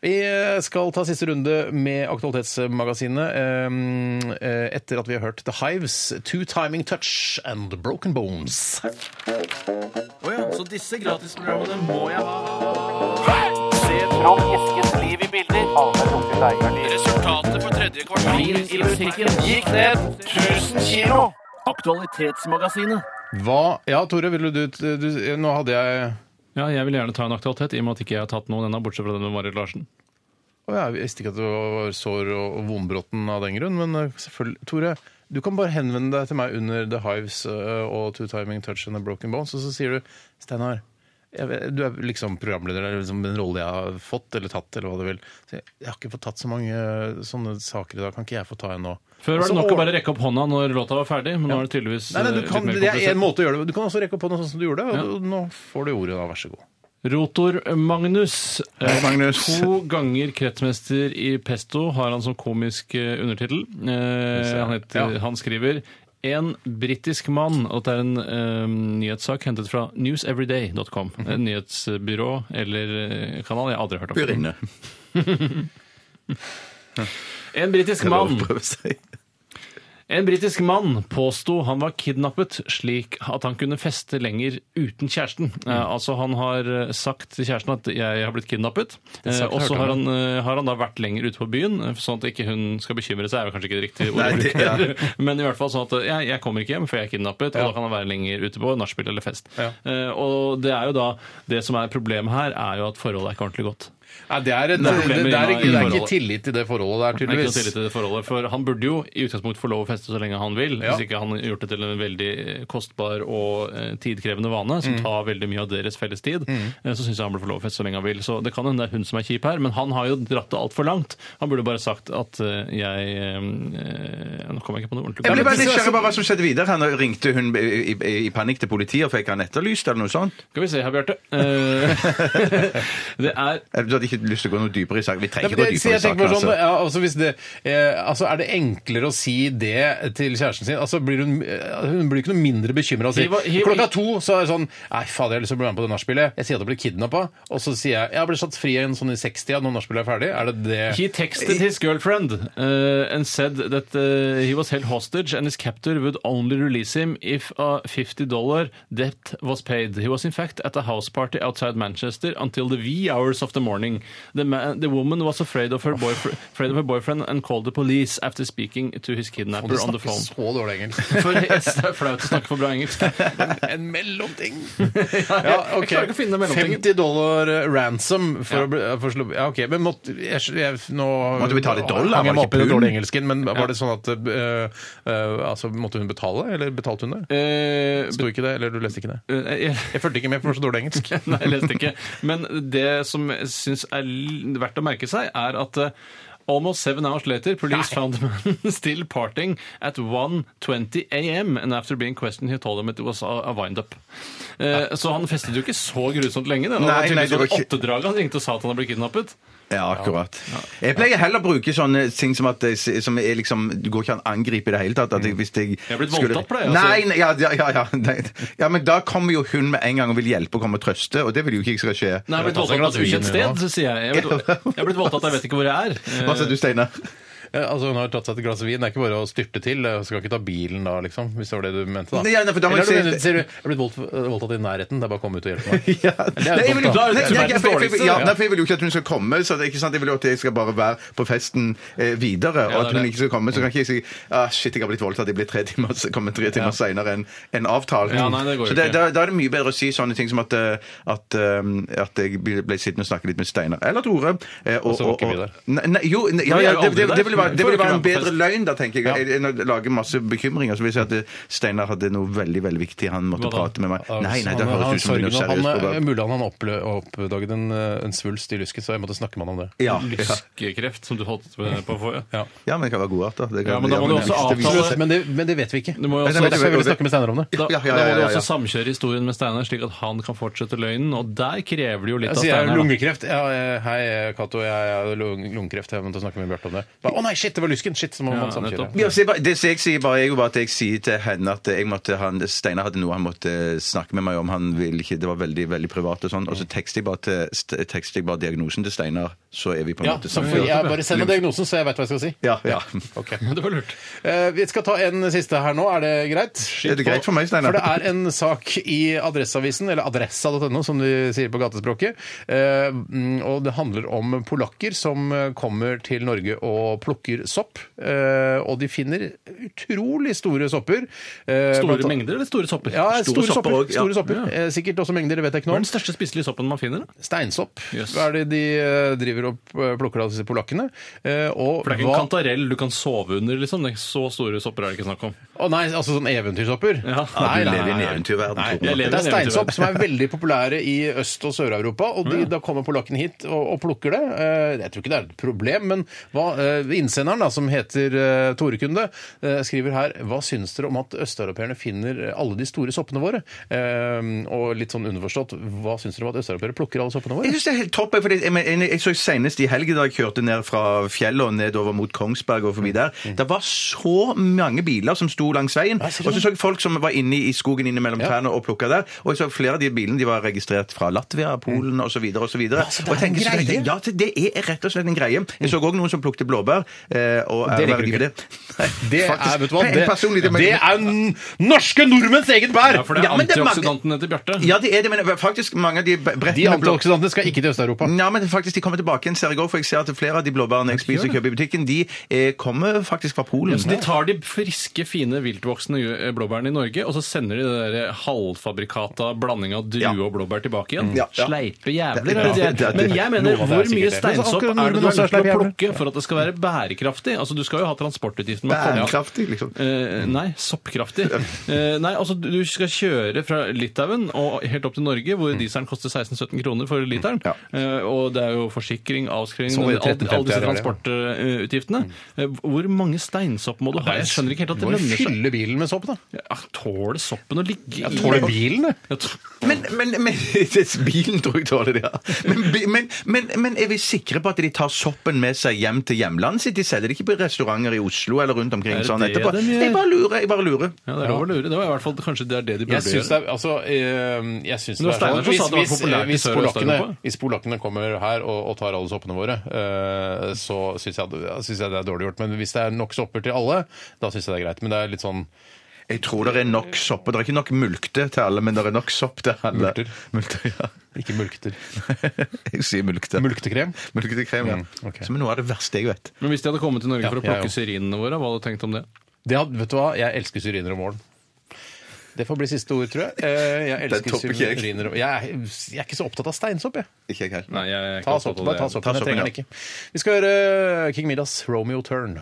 Vi eh, skal ta siste runde med Aktualitetsmagasinet eh, eh, etter at vi har hørt The Hives, Two Timing Touch and Broken Bones. Hva Ja, Tore, ville du, du Nå hadde jeg
Ja, jeg vil gjerne ta en aktualitet, i og med at ikke jeg har tatt noen ennå, bortsett fra den med Marit Larsen.
Å, Jeg visste ikke at du var sår og og vonbrotten av den grunn, men eh, selvfølgelig Tore, Du kan bare henvende deg til meg under The Hives øh, og Two Timing Touch and The Broken Bones, og så sier du Steinar, jeg vet, du er liksom programleder, eller liksom en rolle jeg har fått eller tatt, eller hva du vil. Så jeg, jeg har ikke fått tatt så mange øh, sånne saker i dag, kan ikke jeg få ta en nå?
Før
Altså, Og
var det
så
nok å
ord-
bare rekke opp hånda når låta var ferdig, men nå er det tydeligvis
Nei, nei, du
eh,
kan,
litt mer
det er en
komplisert.
måte å gjøre det. Du kan også rekke opp hånda sånn som du gjorde, og
Ja.
og nå får du ordet da, vær så god.
Rotor Magnus. eh,
Hei, Magnus.
To ganger kretsmester i Pesto har han som komisk eh, undertittel. Eh, han, heter,
Ja.
han skriver en britisk mann, og det er en eh, nyhetssak hentet fra newseveryday.com.
Mhm.
En Eh, nyhetsbyrå eller eh, kanal jeg aldri har hørt om.
Byrinne.
En britisk mann En britisk mann påsto han var kidnappet slik at han kunne feste lenger uten kjæresten. Eh, altså han har eh, sagt til kjæresten at 'jeg har blitt kidnappet', eh,
saken
og så
hørte
har,
han.
han, eh, har han da vært lenger ute på byen, eh, sånn at ikke hun skal bekymre seg, er jo kanskje ikke det riktige ordet,
Nei,
å
det-
bruke her. men i hvert fall sånn at eh, jeg, jeg kommer ikke hjem, for jeg er kidnappet, og da kan han være lenger ute på nachspiel eller fest.
Ja.
Eh, og det er jo da, det som er problemet her, er jo at forholdet er ikke ordentlig godt.
Nei, det er, et,
Nei,
det, det, er,
problemer
ikke-
i
det er ikke
forholdet.
tillit i det forholdet der,
Det er ikke
tydeligvis.
noe tillit til det forholdet, for Han burde jo i utgangspunktet få lov å feste så lenge han vil,
Ja.
hvis ikke han har gjort det til en veldig eh, kostbar og eh, tidkrevende vane
Mm.
som tar veldig mye av deres felles tid. eh, Så syns jeg han burde få lov å feste så lenge han vil. Så Det kan hende det er hun som er kjip her, men han har jo dratt det altfor langt. Han burde bare sagt at eh, jeg eh, eh, Nå kommer jeg ikke på noe ordentlig.
Jeg ble bare
Men-
nysgjerrig på hva som skjedde videre. Han ringte hun i, i, i panikk til politiet og fikk han etterlyst eller noe sånt.
Skal vi se her, Bjarte. Eh, det er
Eller Du hadde ikke lyst til å gå noe dypere i saken? Vi
Nei,
trenger
men
ikke gå
det, så
dypere
jeg tenker
i saken,
bare sånn,
altså.
ja, altså hvis det, eh, altså er det enklere å si det til kjæresten sin? Altså blir hun, eh, hun blir ikke noe mindre bekymra. Si.
Hiv- hiv-
Klokka to så er det sånn Nei, fader, jeg har lyst til å bli med på det nachspielet. Jeg sier at jeg ble kidnappa, og så sier jeg jeg ble satt fri igjen sånn i 60 når nachspielet er ferdig. Er det det
He texted his girlfriend uh, and said that uh, he was held hostage and his captor would only release him if a $50 debt was paid. He was in fact at a house party outside Manchester until the wee hours of the morning. The, man, the woman was afraid of her boyfriend, afraid of her boyfriend and called the police after speaking to his
Og du
kidnapper on the
snakker
phone.
så dårlig engelsk.
For yes, det er flaut å snakke for bra engelsk.
En mellomting!
jeg klarer ikke å finne mellomtingen.
50 dollar eh, ransom for å bli eh, for å slå- Ja, OK, men måtte jeg, jeg, nå,
Måtte vi betale dollar?
hang Jeg
Var det
meg
ikke
opp i den
pund?
dårlige engelsken, men var det sånn at eh, eh, altså, Måtte hun betale, eller betalte hun det?
Eh,
Sto ikke det, eller du leste ikke det?
eh, jeg-
Jeg fulgte ikke med, for det var så dårlig engelsk.
Nei, jeg leste ikke. Men det som jeg syns er l- verdt å merke seg, er at eh, Almost seven hours later, police found the man still partying at 1.20 am, and after being questioned, he told them it was a, a wind-up. Eh, Så han festet jo ikke så grusomt lenge. Det. Det var
Nei, nei,
tydeligvis
det var
sånn
ikke-
åttedraget han ringte og sa at han hadde blitt kidnappet.
Ja, akkurat. Jeg pleier heller å bruke sånne ting som at jeg s- som er liksom, Du går ikke an å angripe i det hele tatt. At jeg, hvis jeg
Jeg er blitt
skulle-
voldtatt, pleier jeg, altså.
Nei, nei, ja, ja, ja, ja, nei. ja, men da kommer jo hun med en gang og vil hjelpe og komme og trøste, og det vil jo ikke jeg skal skje.
Nei, jeg har blitt
Ta seg et
voldtatt på
glass
et ukjent
vin,
sted, så sier jeg. Jeg har blitt- jeg har blitt voldtatt, jeg vet ikke hvor jeg er.
Hva sa du, Steinar?
Eh, Altså, Hun har tatt seg et glass vin. Det er ikke bare å styrte til. eh, Skal ikke ta bilen da, liksom. Hvis det var det du mente, da.
Nei, ja, nei, for da må
Eller
jeg
du
si-
mener, sier du, jeg er blitt voldt- eh, voldtatt i nærheten. Det er bare å komme ut og hjelpe meg.
Ja.
er jo
Nei, jeg vil jo-
godt, da.
Nei,
Det er
ja,
verdens
for- for-
dårligste,
ja,
ja.
nei, for jeg vil jo ikke at hun skal komme. Så det, er ikke sant? Jeg vil jo at jeg skal bare være på festen eh, videre.
det er
Og at hun
det.
ikke skal komme. Så kan ikke jeg si ah, shit, jeg har blitt voldtatt. Jeg blir tre timer, så kommer tre timer senere enn enn avtalt.
Ja, nei, det går
så
jo
det,
ikke.
da, da er det mye bedre å si sånne ting som at, eh, at, eh, at jeg ble ble sittende og snakke litt med Steinar eller Tore. eh, Og
så var ikke vi der.
Nei, nei, jo, nei, ja,
Nei,
ja, det,
jeg er aldri
det, det ville
der.
være, det ville
Får ikke
være en
være på
bedre
fest.
løgn, da, tenker jeg,
Ja.
enn å lage masse bekymringer. Så vil jeg si at eh, Steinar hadde noe veldig, veldig viktig han måtte
Hva da?
prate med meg. Nei, nei,
Han-
det høres
han
ut som hun er
sørgen,
seriøs. på
han, eh,
det.
Mulig han opple- oppdaget en, eh, en svulst i lysket, så jeg måtte snakke med han om det.
Ja, ja.
Lyskekreft, som du holdt på å få. ja.
ja, men det kan være godartet. Det kan-
Ja, men da må du
det-
også
det viser
avtale-
seg-
Men det, men det vet vi ikke.
Du
Så
må jo også
derfor vil jeg snakke med Steinar om det.
Ja,
Da,
ja, ja,
da må du
ja, ja.
også samkjøre historien med Steinar, slik at han kan fortsette løgnen. Og der krever det jo litt
Jeg
av
sier jeg har
Steinar. da.
lungekreft. Ja, eh, hei, Cato, jeg har lung- lungekreft. Jeg må til å snakke med Bjarte om det. Bare, Å nei, shit, det var lysken! Shit, så må man
Ja, nettopp.
samkjøre.
Ja, så jeg bare- det som jeg sier bare, er jo bare at jeg sier til henne at jeg måtte, han, Steinar hadde noe han måtte snakke med meg om. Han ville ikke, Det var veldig veldig privat og sånn. Og så tekster jeg bare, til, st- tekster jeg bare diagnosen til Steinar, så er vi på en
Ja,
måte
så
sammen.
får jeg bare send meg diagnosen, så jeg veit hva jeg skal si.
Ja, ja.
Ok.
Det var lurt.
Eh, Vi skal ta en siste her nå. Er det greit? Skyt
Er det greit
på.
for meg,
For
Steinar?
det er en sak i Adresseavisen, eller adressa.no, som de sier på gatespråket. Eh, mm, Og det handler om polakker som eh, kommer til Norge og plukker sopp. Eh, Og de finner utrolig store sopper. Eh, blant
Store
annet-
mengder eller store sopper?
Ja, store,
Store sopper
sopper.
også, ja.
store sopper. Eh, Sikkert også mengder, det vet jeg ikke
Hva
nå.
er den største spiselige soppen man finner? da?
Steinsopp.
Yes.
Hva er det de eh, driver driver og eh, plukker av disse polakkene. eh, Og
For det er ikke en
hva-
kantarell du kan sove under, liksom. Det er ikke så store sopper er det ikke snakk om.
Å nei, altså sånn eventyrsopper?
Ja.
Nei,
du
nei,
lever i en
nei, nei.
eventyrverden,
Nei, jeg lever
Tore.
i en Det er
eventyrverden.
steinsopp som er veldig populære i Øst- og Sør-Europa, og de, da kommer polakken hit og, og plukker det. Eh, Jeg tror ikke det er et problem, men hva, eh, innsenderen, da, som heter eh, Tore Kunde, eh, skriver her Hva syns dere om at østeuropeerne finner alle de store soppene våre? Eh, Og litt sånn underforstått, hva syns dere om at østeuropeere plukker alle soppene
Jeg
våre?
synes det er helt topp. For jeg, men- jeg, jeg så senest i helgen da jeg kjørte ned fra fjellet og nedover mot Kongsberg og forbi der. Det var så mange biler som sto langs veien.
Mm. Ja,
Og
ser du
så
det?
så jeg folk som var inne i skogen inne mellom
Ja.
trærne og plukka der. Og jeg så flere av de bilene de var registrert fra Latvia, Polen osv. osv.
Mm. så det er en greie.
Ja, det det er rett og slett en greie. Jeg så òg noen som plukte blåbær. eh, Og
Det
er
liker
veldig
du ikke.
for det.
Det
Nei,
er,
faktisk.
vet du hva,
Jeg
det,
personlig, det-
det er n- norske nordmenns eget bær!
Ja, for det er
Ja, men det er mange-
antioksidantene til Bjarte.
Ja, det er det, men faktisk mange av de brettene
De antioksidantene skal ikke til Øst-Europa.
Ja, men faktisk, de kommer tilbake igjen, ser jeg også, for jeg ser at flere av de blåbærene jeg spiser og kjøper i butikken, de eh, kommer faktisk fra Polen.
Så de tar de friske, fine, viltvoksende eh, blåbærene i Norge, og så sender de det der eh, halvfabrikata blanding av drue
Ja.
og blåbær tilbake igjen.
Ja, ja.
Sleipe
Det-
jævler.
det-
er det
det-
de
det-
er. Men jeg mener,
Noe av det er
hvor mye
sikkert det. Men så
steinsopp
akkurat
er det du
nordmenn
er nødt
også er
til å
sleipe
plukke for at det skal være bærekraftig? Altså, Du skal jo ha transportutgiften med å komme opp.
Bærekraftig, liksom.
Eh, nei, soppkraftig. Eh, nei, altså Du skal kjøre fra Litauen og helt opp til Norge,
Mm.
hvor dieselen koster 16-17 kroner for literen.
Ja.
Eh, og det er jo forsikring, avskriving,
Så var det
alle
13,50
alle disse
her, Mm. ja.
transportutgiftene. Eh, hvor mange steinsopp må du ha? Jeg skjønner ikke helt at
Du
det
må jo
lønner seg.
fylle bilen med sopp, da.
Ja, tåler soppen å ligge
Jeg tåler bilen, jeg.
Jeg tror-
Men, men, men det- Bilen tror jeg tåler det, ja. Men, bi- men, men, men er vi sikre på at de tar soppen med seg hjem til hjemlandet sitt? De selger det ikke på restauranter i Oslo eller rundt omkring
Er det
sånn
det
etterpå?
de gjør?
Jeg bare lurer. jeg bare lurer.
Ja, det er lov å lure. Det var i hvert fall kanskje det er det de burde
Jeg syns det
gjøre.
er altså, eh, jeg syns
Men
det
det var
er
Steinar som sa
sånn,
at det var
hvis, hvis,
populært i
hvis,
Sør- og
polakkene,
Østeuropa.
hvis polakkene kommer her og, og tar alle soppene våre, eh, så syns jeg, ja, synes jeg det er dårlig gjort. Men hvis det er nok sopper til alle, da syns jeg det er greit. Men det er litt sånn
Jeg tror det er nok sopp. og Det er ikke nok mulkte til alle, men det er nok sopp til alle.
Multer.
Multer, ja.
Ikke mulkter.
Jeg sier mulkte.
Multekrem?
Multekrem, ja.
Mm, ok.
Som er noe av det verste jeg vet.
Men hvis de hadde kommet til Norge for å
jeg
plukke syrinene våre, hva hadde du tenkt om det?
Det, had- vet du hva, jeg elsker syriner om våren. Det får bli siste ord, tror jeg. Eh, jeg
Den
elsker
topper ikke jeg.
syriner om Jeg, er- jeg er ikke så opptatt av steinsopp, jeg.
Ikke jeg heller.
Nei, jeg er ikke
Ta
opptatt av
soppen, bare ta
det.
soppen. Jeg
soppen,
trenger
ja.
den ikke. Vi skal høre King Midas' Romeo Turn.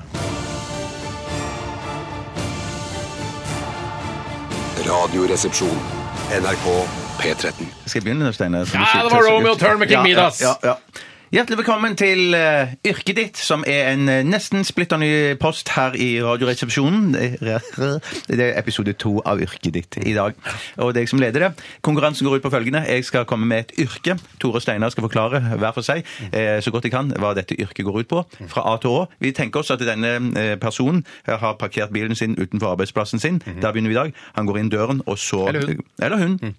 Radioresepsjon. NRK P13.
Skal jeg begynne, Steinar?
Ja, det var Romeo Turn med King Midas.
Ja, ja, ja. Hjertelig velkommen til eh, yrket ditt, som er en eh, nesten splitter ny post her i Radioresepsjonen. Det er episode to av yrket ditt i dag. Og det er jeg som leder det. Konkurransen går ut på følgende. Jeg skal komme med et yrke. Tore og Steinar skal forklare hver for seg eh, så godt de kan hva dette yrket går ut på, fra A til Å. Vi tenker oss at denne eh, personen har parkert bilen sin utenfor arbeidsplassen sin. Der begynner vi i dag. Han går inn døren, og så
Mhm. Eller hun. Mm.
Eller hun.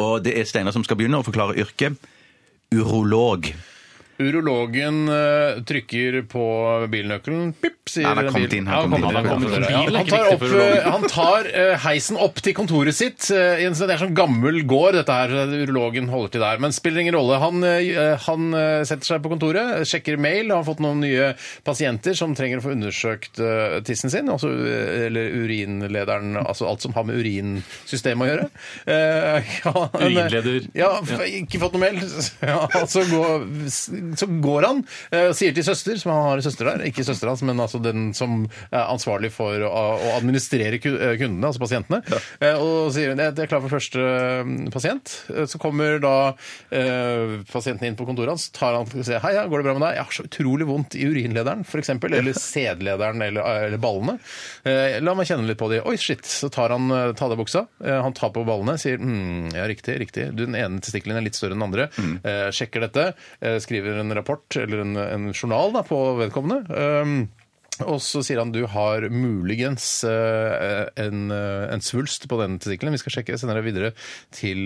Og det er Steinar som skal begynne å forklare yrket. Urolog.
Urologen eh, trykker på bilnøkkelen. Pip, sier
Nei, han har
den
kommet
bilen.
inn,
Ja,
han
Han
har
har
kommet
kommet
inn.
inn.
Bil er
Han
ikke
tar,
viktig
opp,
for urologen.
eh, han tar eh, heisen opp til kontoret sitt. eh, i en sånn- Det er sånn gammel gård, dette her. eh, Urologen holder til der. Men spiller ingen rolle. Han, eh, han eh, setter seg på kontoret, eh, sjekker mail. Har fått noen nye pasienter som trenger å få undersøkt eh, tissen sin. Altså, eh, eller urinlederen. Altså alt som har med urinsystemet å gjøre. Eh, ja, men, eh,
Urinleder.
Ja, f- ikke fått noe mail. Ja, så, går, så går han eh, og sier til søster, som han har en søster der, ikke søster hans, men altså den som er ansvarlig for å, å administrere ku- eh, kundene, altså pasientene, eh, og sier at jeg er klar for første eh, pasient. Eh, Så kommer da eh, pasienten inn på kontoret hans, tar han og sier hei, ja, går det bra med deg? Jeg har så utrolig vondt i urinlederen, for eksempel, eller sædlederen eller, eller ballene. Eh, La meg kjenne litt på de. Oi, shit. Så tar han eh, tar av deg buksa, eh, han tar på ballene, sier mm, ja, riktig, riktig. Du, Den ene testikkelen er litt større enn den andre.
Mm.
Eh, Sjekker dette, eh, skriver en rapport eller en, en journal da, på vedkommende. Um, og så sier han du har muligens eh, en, eh, en svulst på den testikkelen. Vi skal sjekke. Jeg sender deg videre til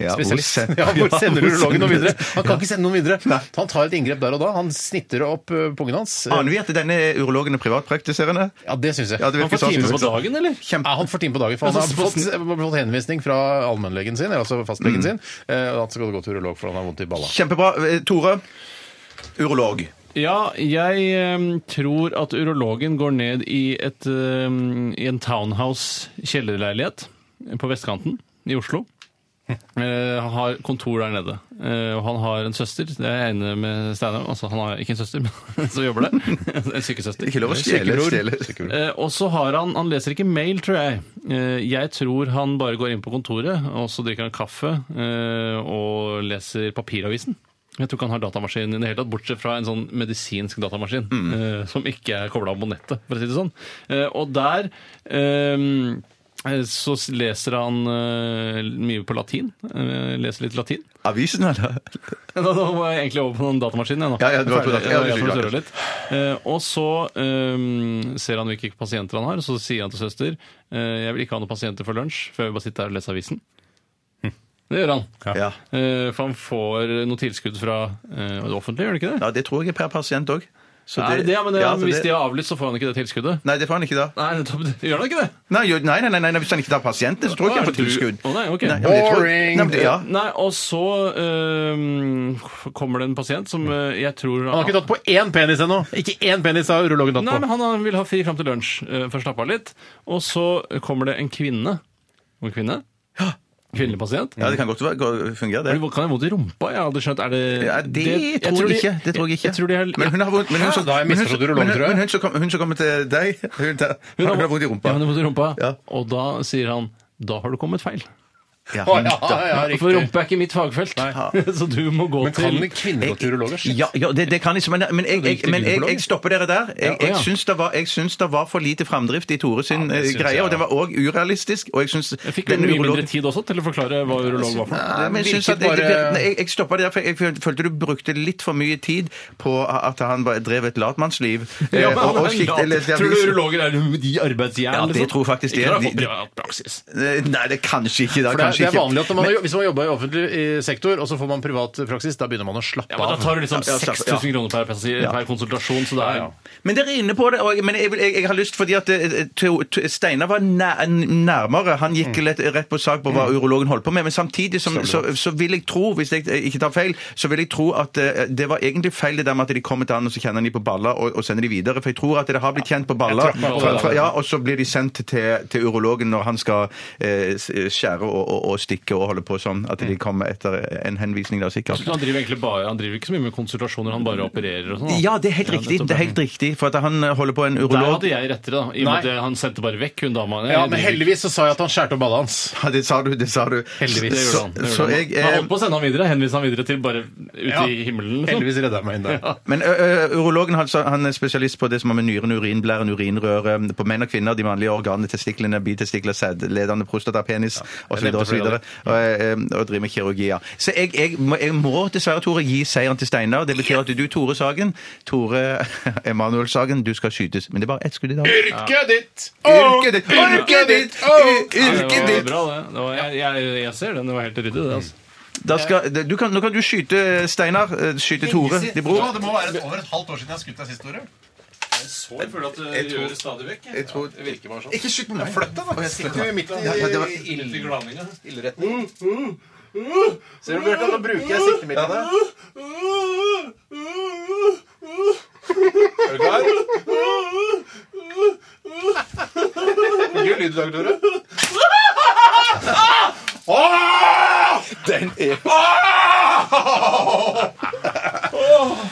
Ja, hvor
spesialist.
sen-
ja, hvor
Ja,
sender
hvor
urologen noe
sender-
videre? Han kan ikke sende noen videre.
Nei.
Så Han tar et inngrep der og da. Han snitter opp eh, pungen hans.
Aner vi at denne urologen er privatpraktiserende?
Ja, det syns jeg.
Ja, det
Han
virker
får
sånn,
time
synes
på
jeg.
dagen, eller?
Ja, han får time på dagen, for han har
Altså,
fått,
så-
fått henvisning fra allmennlegen sin, eller altså fastlegen sin, eh, og han skal gå til urolog for han har vondt i balla.
Kjempebra. Eh, Tore, urolog.
Ja, jeg em, tror at urologen går ned i, et, em, i en townhouse kjellerleilighet på vestkanten i Oslo. Eh, han har kontor der nede. Eh, og han har en søster. Det er jeg enig med Steinar om. Altså, han har ikke en søster, men som jobber der. En sykesøster.
Ikke lov å stjele.
Sykebror.
stjele.
Eh, og så har han Han leser ikke mail, tror jeg. Eh, jeg tror han bare går inn på kontoret, og så drikker han kaffe eh, og leser papiravisen. Jeg tror ikke han har datamaskin i det hele tatt, bortsett fra en sånn medisinsk datamaskin
Mm.
eh, som ikke er kobla på nettet, for å si det sånn. Eh, og der eh, så leser han eh, mye på latin. Eh, leser litt latin.
Avisen, eller?
Da, da var jeg egentlig over på den datamaskinen. Jeg, nå.
Ja, ja, du var på
Ferdig.
data- ja,
Jeg
du
var
skulle
på litt. Eh, og så ehm, ser han hvilke pasienter han har, og så sier han til søster eh, jeg vil ikke ha noen pasienter for lunsj, for jeg vil bare sitte her og lese avisen. Det gjør han.
Ja.
Eh, for han får noe tilskudd fra eh, det offentlige, gjør han ikke det?
ja, det tror jeg er per pasient òg.
Nei, det, ja, men det,
så
Hvis
det-
de har avlyst, så får han ikke det tilskuddet.
Nei, det får han ikke da.
Nei, nettopp. Gjør han ikke det?
Nei, jo, nei, nei, nei, nei, hvis han ikke tar pasienten, så tror jeg ikke han får
Hva er det du-
tilskudd.
Å, nei, ok.
Nei, ja, men det tror-
Boring.
Nei, men det- ja.
Nei, og så eh, kommer det en pasient som eh, jeg tror
Han har ikke tatt på én penis ennå! Ikke én penis har urologen tatt
Nei, men
på.
han, han vil ha fri fram til lunsj eh, for å slappe av litt. Og så kommer det en kvinne. En kvinne? Kvinnelig pasient.
ja, det kan godt være- gå- fungere, det.
Kan jeg ha vondt i rumpa? Jeg hadde skjønt, er det,
Ja, det,
jeg
tror jeg
de-
ikke. Det tror jeg ikke.
Jeg tror de har,
Men hun har vondt men hun som-
Da har jeg
men hun
misforstått
som-
urologen,
men hun-
tror jeg.
men Hun som kom- hun som kommer til deg, hun, der, hun har vondt i rumpa.
Ja, hun har vondt i rumpa.
Ja.
Og da sier han da har du kommet feil.
Ja,
Å, ja, ja, ja,
For
riktig.
rumpe er ikke mitt fagfelt. Så du må gå
Men
til
kan en kvinne gå til urologer?
Ja, ja det, det kan liksom, men, men, jeg, jeg, men jeg, jeg stopper dere der. Jeg,
Ja, ja.
jeg, syns det var, jeg syns det var for lite framdrift i Tore sin eh,
syns jeg,
greie,
ja.
og det var òg urealistisk. Og jeg syns
Jeg fikk jo
den
mye
urolog-
mindre tid også til å forklare hva urolog var for noe.
Nei, men jeg, synes
virket
at jeg,
bare-
Nei, jeg, jeg stoppa der, for jeg føl- følte du brukte litt for mye tid på at han bare drev et latmannsliv. eh,
Ja, men
og-
han
og
er
skikket-
lat.
leste
Tror du
aviser.
urologer er de arbeidsjern?
Ja, det
liksom?
tror jeg faktisk de er.
Ikke når det
De-
kommer privat praksis.
Eh, Nei, det er kanskje ikke da,
For det er, det
kanskje
er
ikke.
vanlig at når man, har jo- Hvis man jobber i offentlig eh, sektor, og så får man privat praksis, da begynner man å slappe
Ja,
av.
men da tar du liksom
Ja, ja, slapp-
6000
ja.
kroner per, passi- per konsultasjon, så det er
Men dere er inne på det, og jeg, men jeg, vil- jeg, jeg har lyst fordi at eh, Theo- T- Steinar var nær, nærmere. Han gikk
Mm.
lett, rett på sak på hva urologen holdt på med. Men samtidig som, så, så vil jeg tro, hvis jeg eh, ikke tar feil, så vil jeg tro at eh, det var egentlig feil det der med at de kommer til han, og så kjenner de på baller, og, og sender de videre. For jeg tror at det har blitt kjent på baller,
trakk meg på
fra,
det
fra,
der.
ja, og så blir de sendt til, til urologen når han skal eh, s- skjære og, og, og stikke og holde på sånn.
Mm.
At de kommer etter en henvisning da, sikkert.
Altså, Han driver egentlig bare, han driver ikke så mye med konsultasjoner, han bare opererer og sånn. da.
Ja, det er helt riktig.
nettopp.
Det er helt riktig, For at han eh, holder på en
Der
urolog
hadde jeg rettere, da. I og med at
Nei.
jeg- han sendte bare vekk hun dama. Jeg
Ja, men
driver ikke-
heldigvis så sa jeg at han skjærte opp balla hans.
Ja, det sa du, det sa du.
Heldigvis.
Det gjorde
Så,
han. Det gjorde
så
han.
jeg
han
eh,
holdt på å sende han videre, henvise han videre til bare ute
Ja.
i himmelen. Liksom.
Heldigvis redda jeg meg inn der.
Men ø, ø, urologen han, sa- han er spesialist på det som har med nyren, urinblæren, urinrøret, på menn og kvinner, de mannlige organene, testiklene, bitestikler, sædledende prostata, penis osv.
nevnte
Og, så videre, og, ø, ø, og driver med kirurgi. ja. Så jeg, jeg, må, jeg må dessverre, Tore, gi seieren til Steinar. Det betyr at du, Tore Sagen, Tore Emanuel Sagen, du skal skytes. Men det er bare ett skudd i dag.
Yrket ditt!
Yrket ditt! Yrket ditt! Yrket
Ja, det
ditt!
var bra, det. det var, jeg, jeg, jeg ser den, det var helt ryddig, det. altså.
Da skal, du kan, nå kan du skyte Steinar. ø, Skyte Tore, din bror.
det må være over et halvt år siden jeg har skutt deg sist, Tore.
Jeg føler at det rører stadig vekk. Jeg tror det virker bare sånn.
Ikke skyt på meg. Flytt deg, da.
Ille glaninga.
Ser du, Bjarte, nå bruker jeg siktemidlene. Er du klar? Gjør lyd i dag, Tore. Den er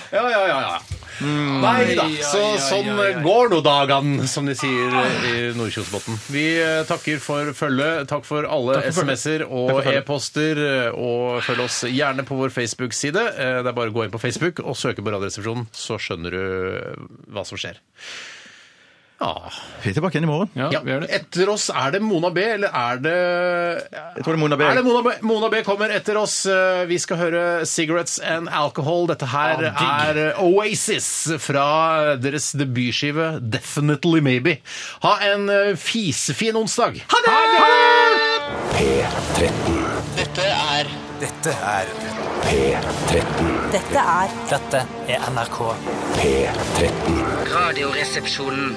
Ja, ja, ja. ja. Nei da. Så sånn går nå dagene, som de sier i Nordkjosbotn. Vi eh, takker for følget. Takk for alle SMS-er og e-poster. eh, Og følg oss gjerne på vår Facebook-side. Eh, Det er bare å gå inn på Facebook og søke på Radioresepsjonen, så skjønner du eh, hva som skjer. Ja.
Vi er tilbake igjen i morgen.
Ja, vi gjør det.
Etter oss, er det Mona B, eller er det
Jeg tror det er Mona B.
Er det Mona B? Mona B kommer etter oss. Eh, Vi skal høre 'Cigarettes and Alcohol'. Dette her er eh, Oasis fra deres debutskive 'Definitely Maybe'. Ha en eh, fisefin onsdag. Ha det!
P13.
Dette er
Dette er
P13.
Dette er Dette er NRK.
P13.
Radioresepsjonen.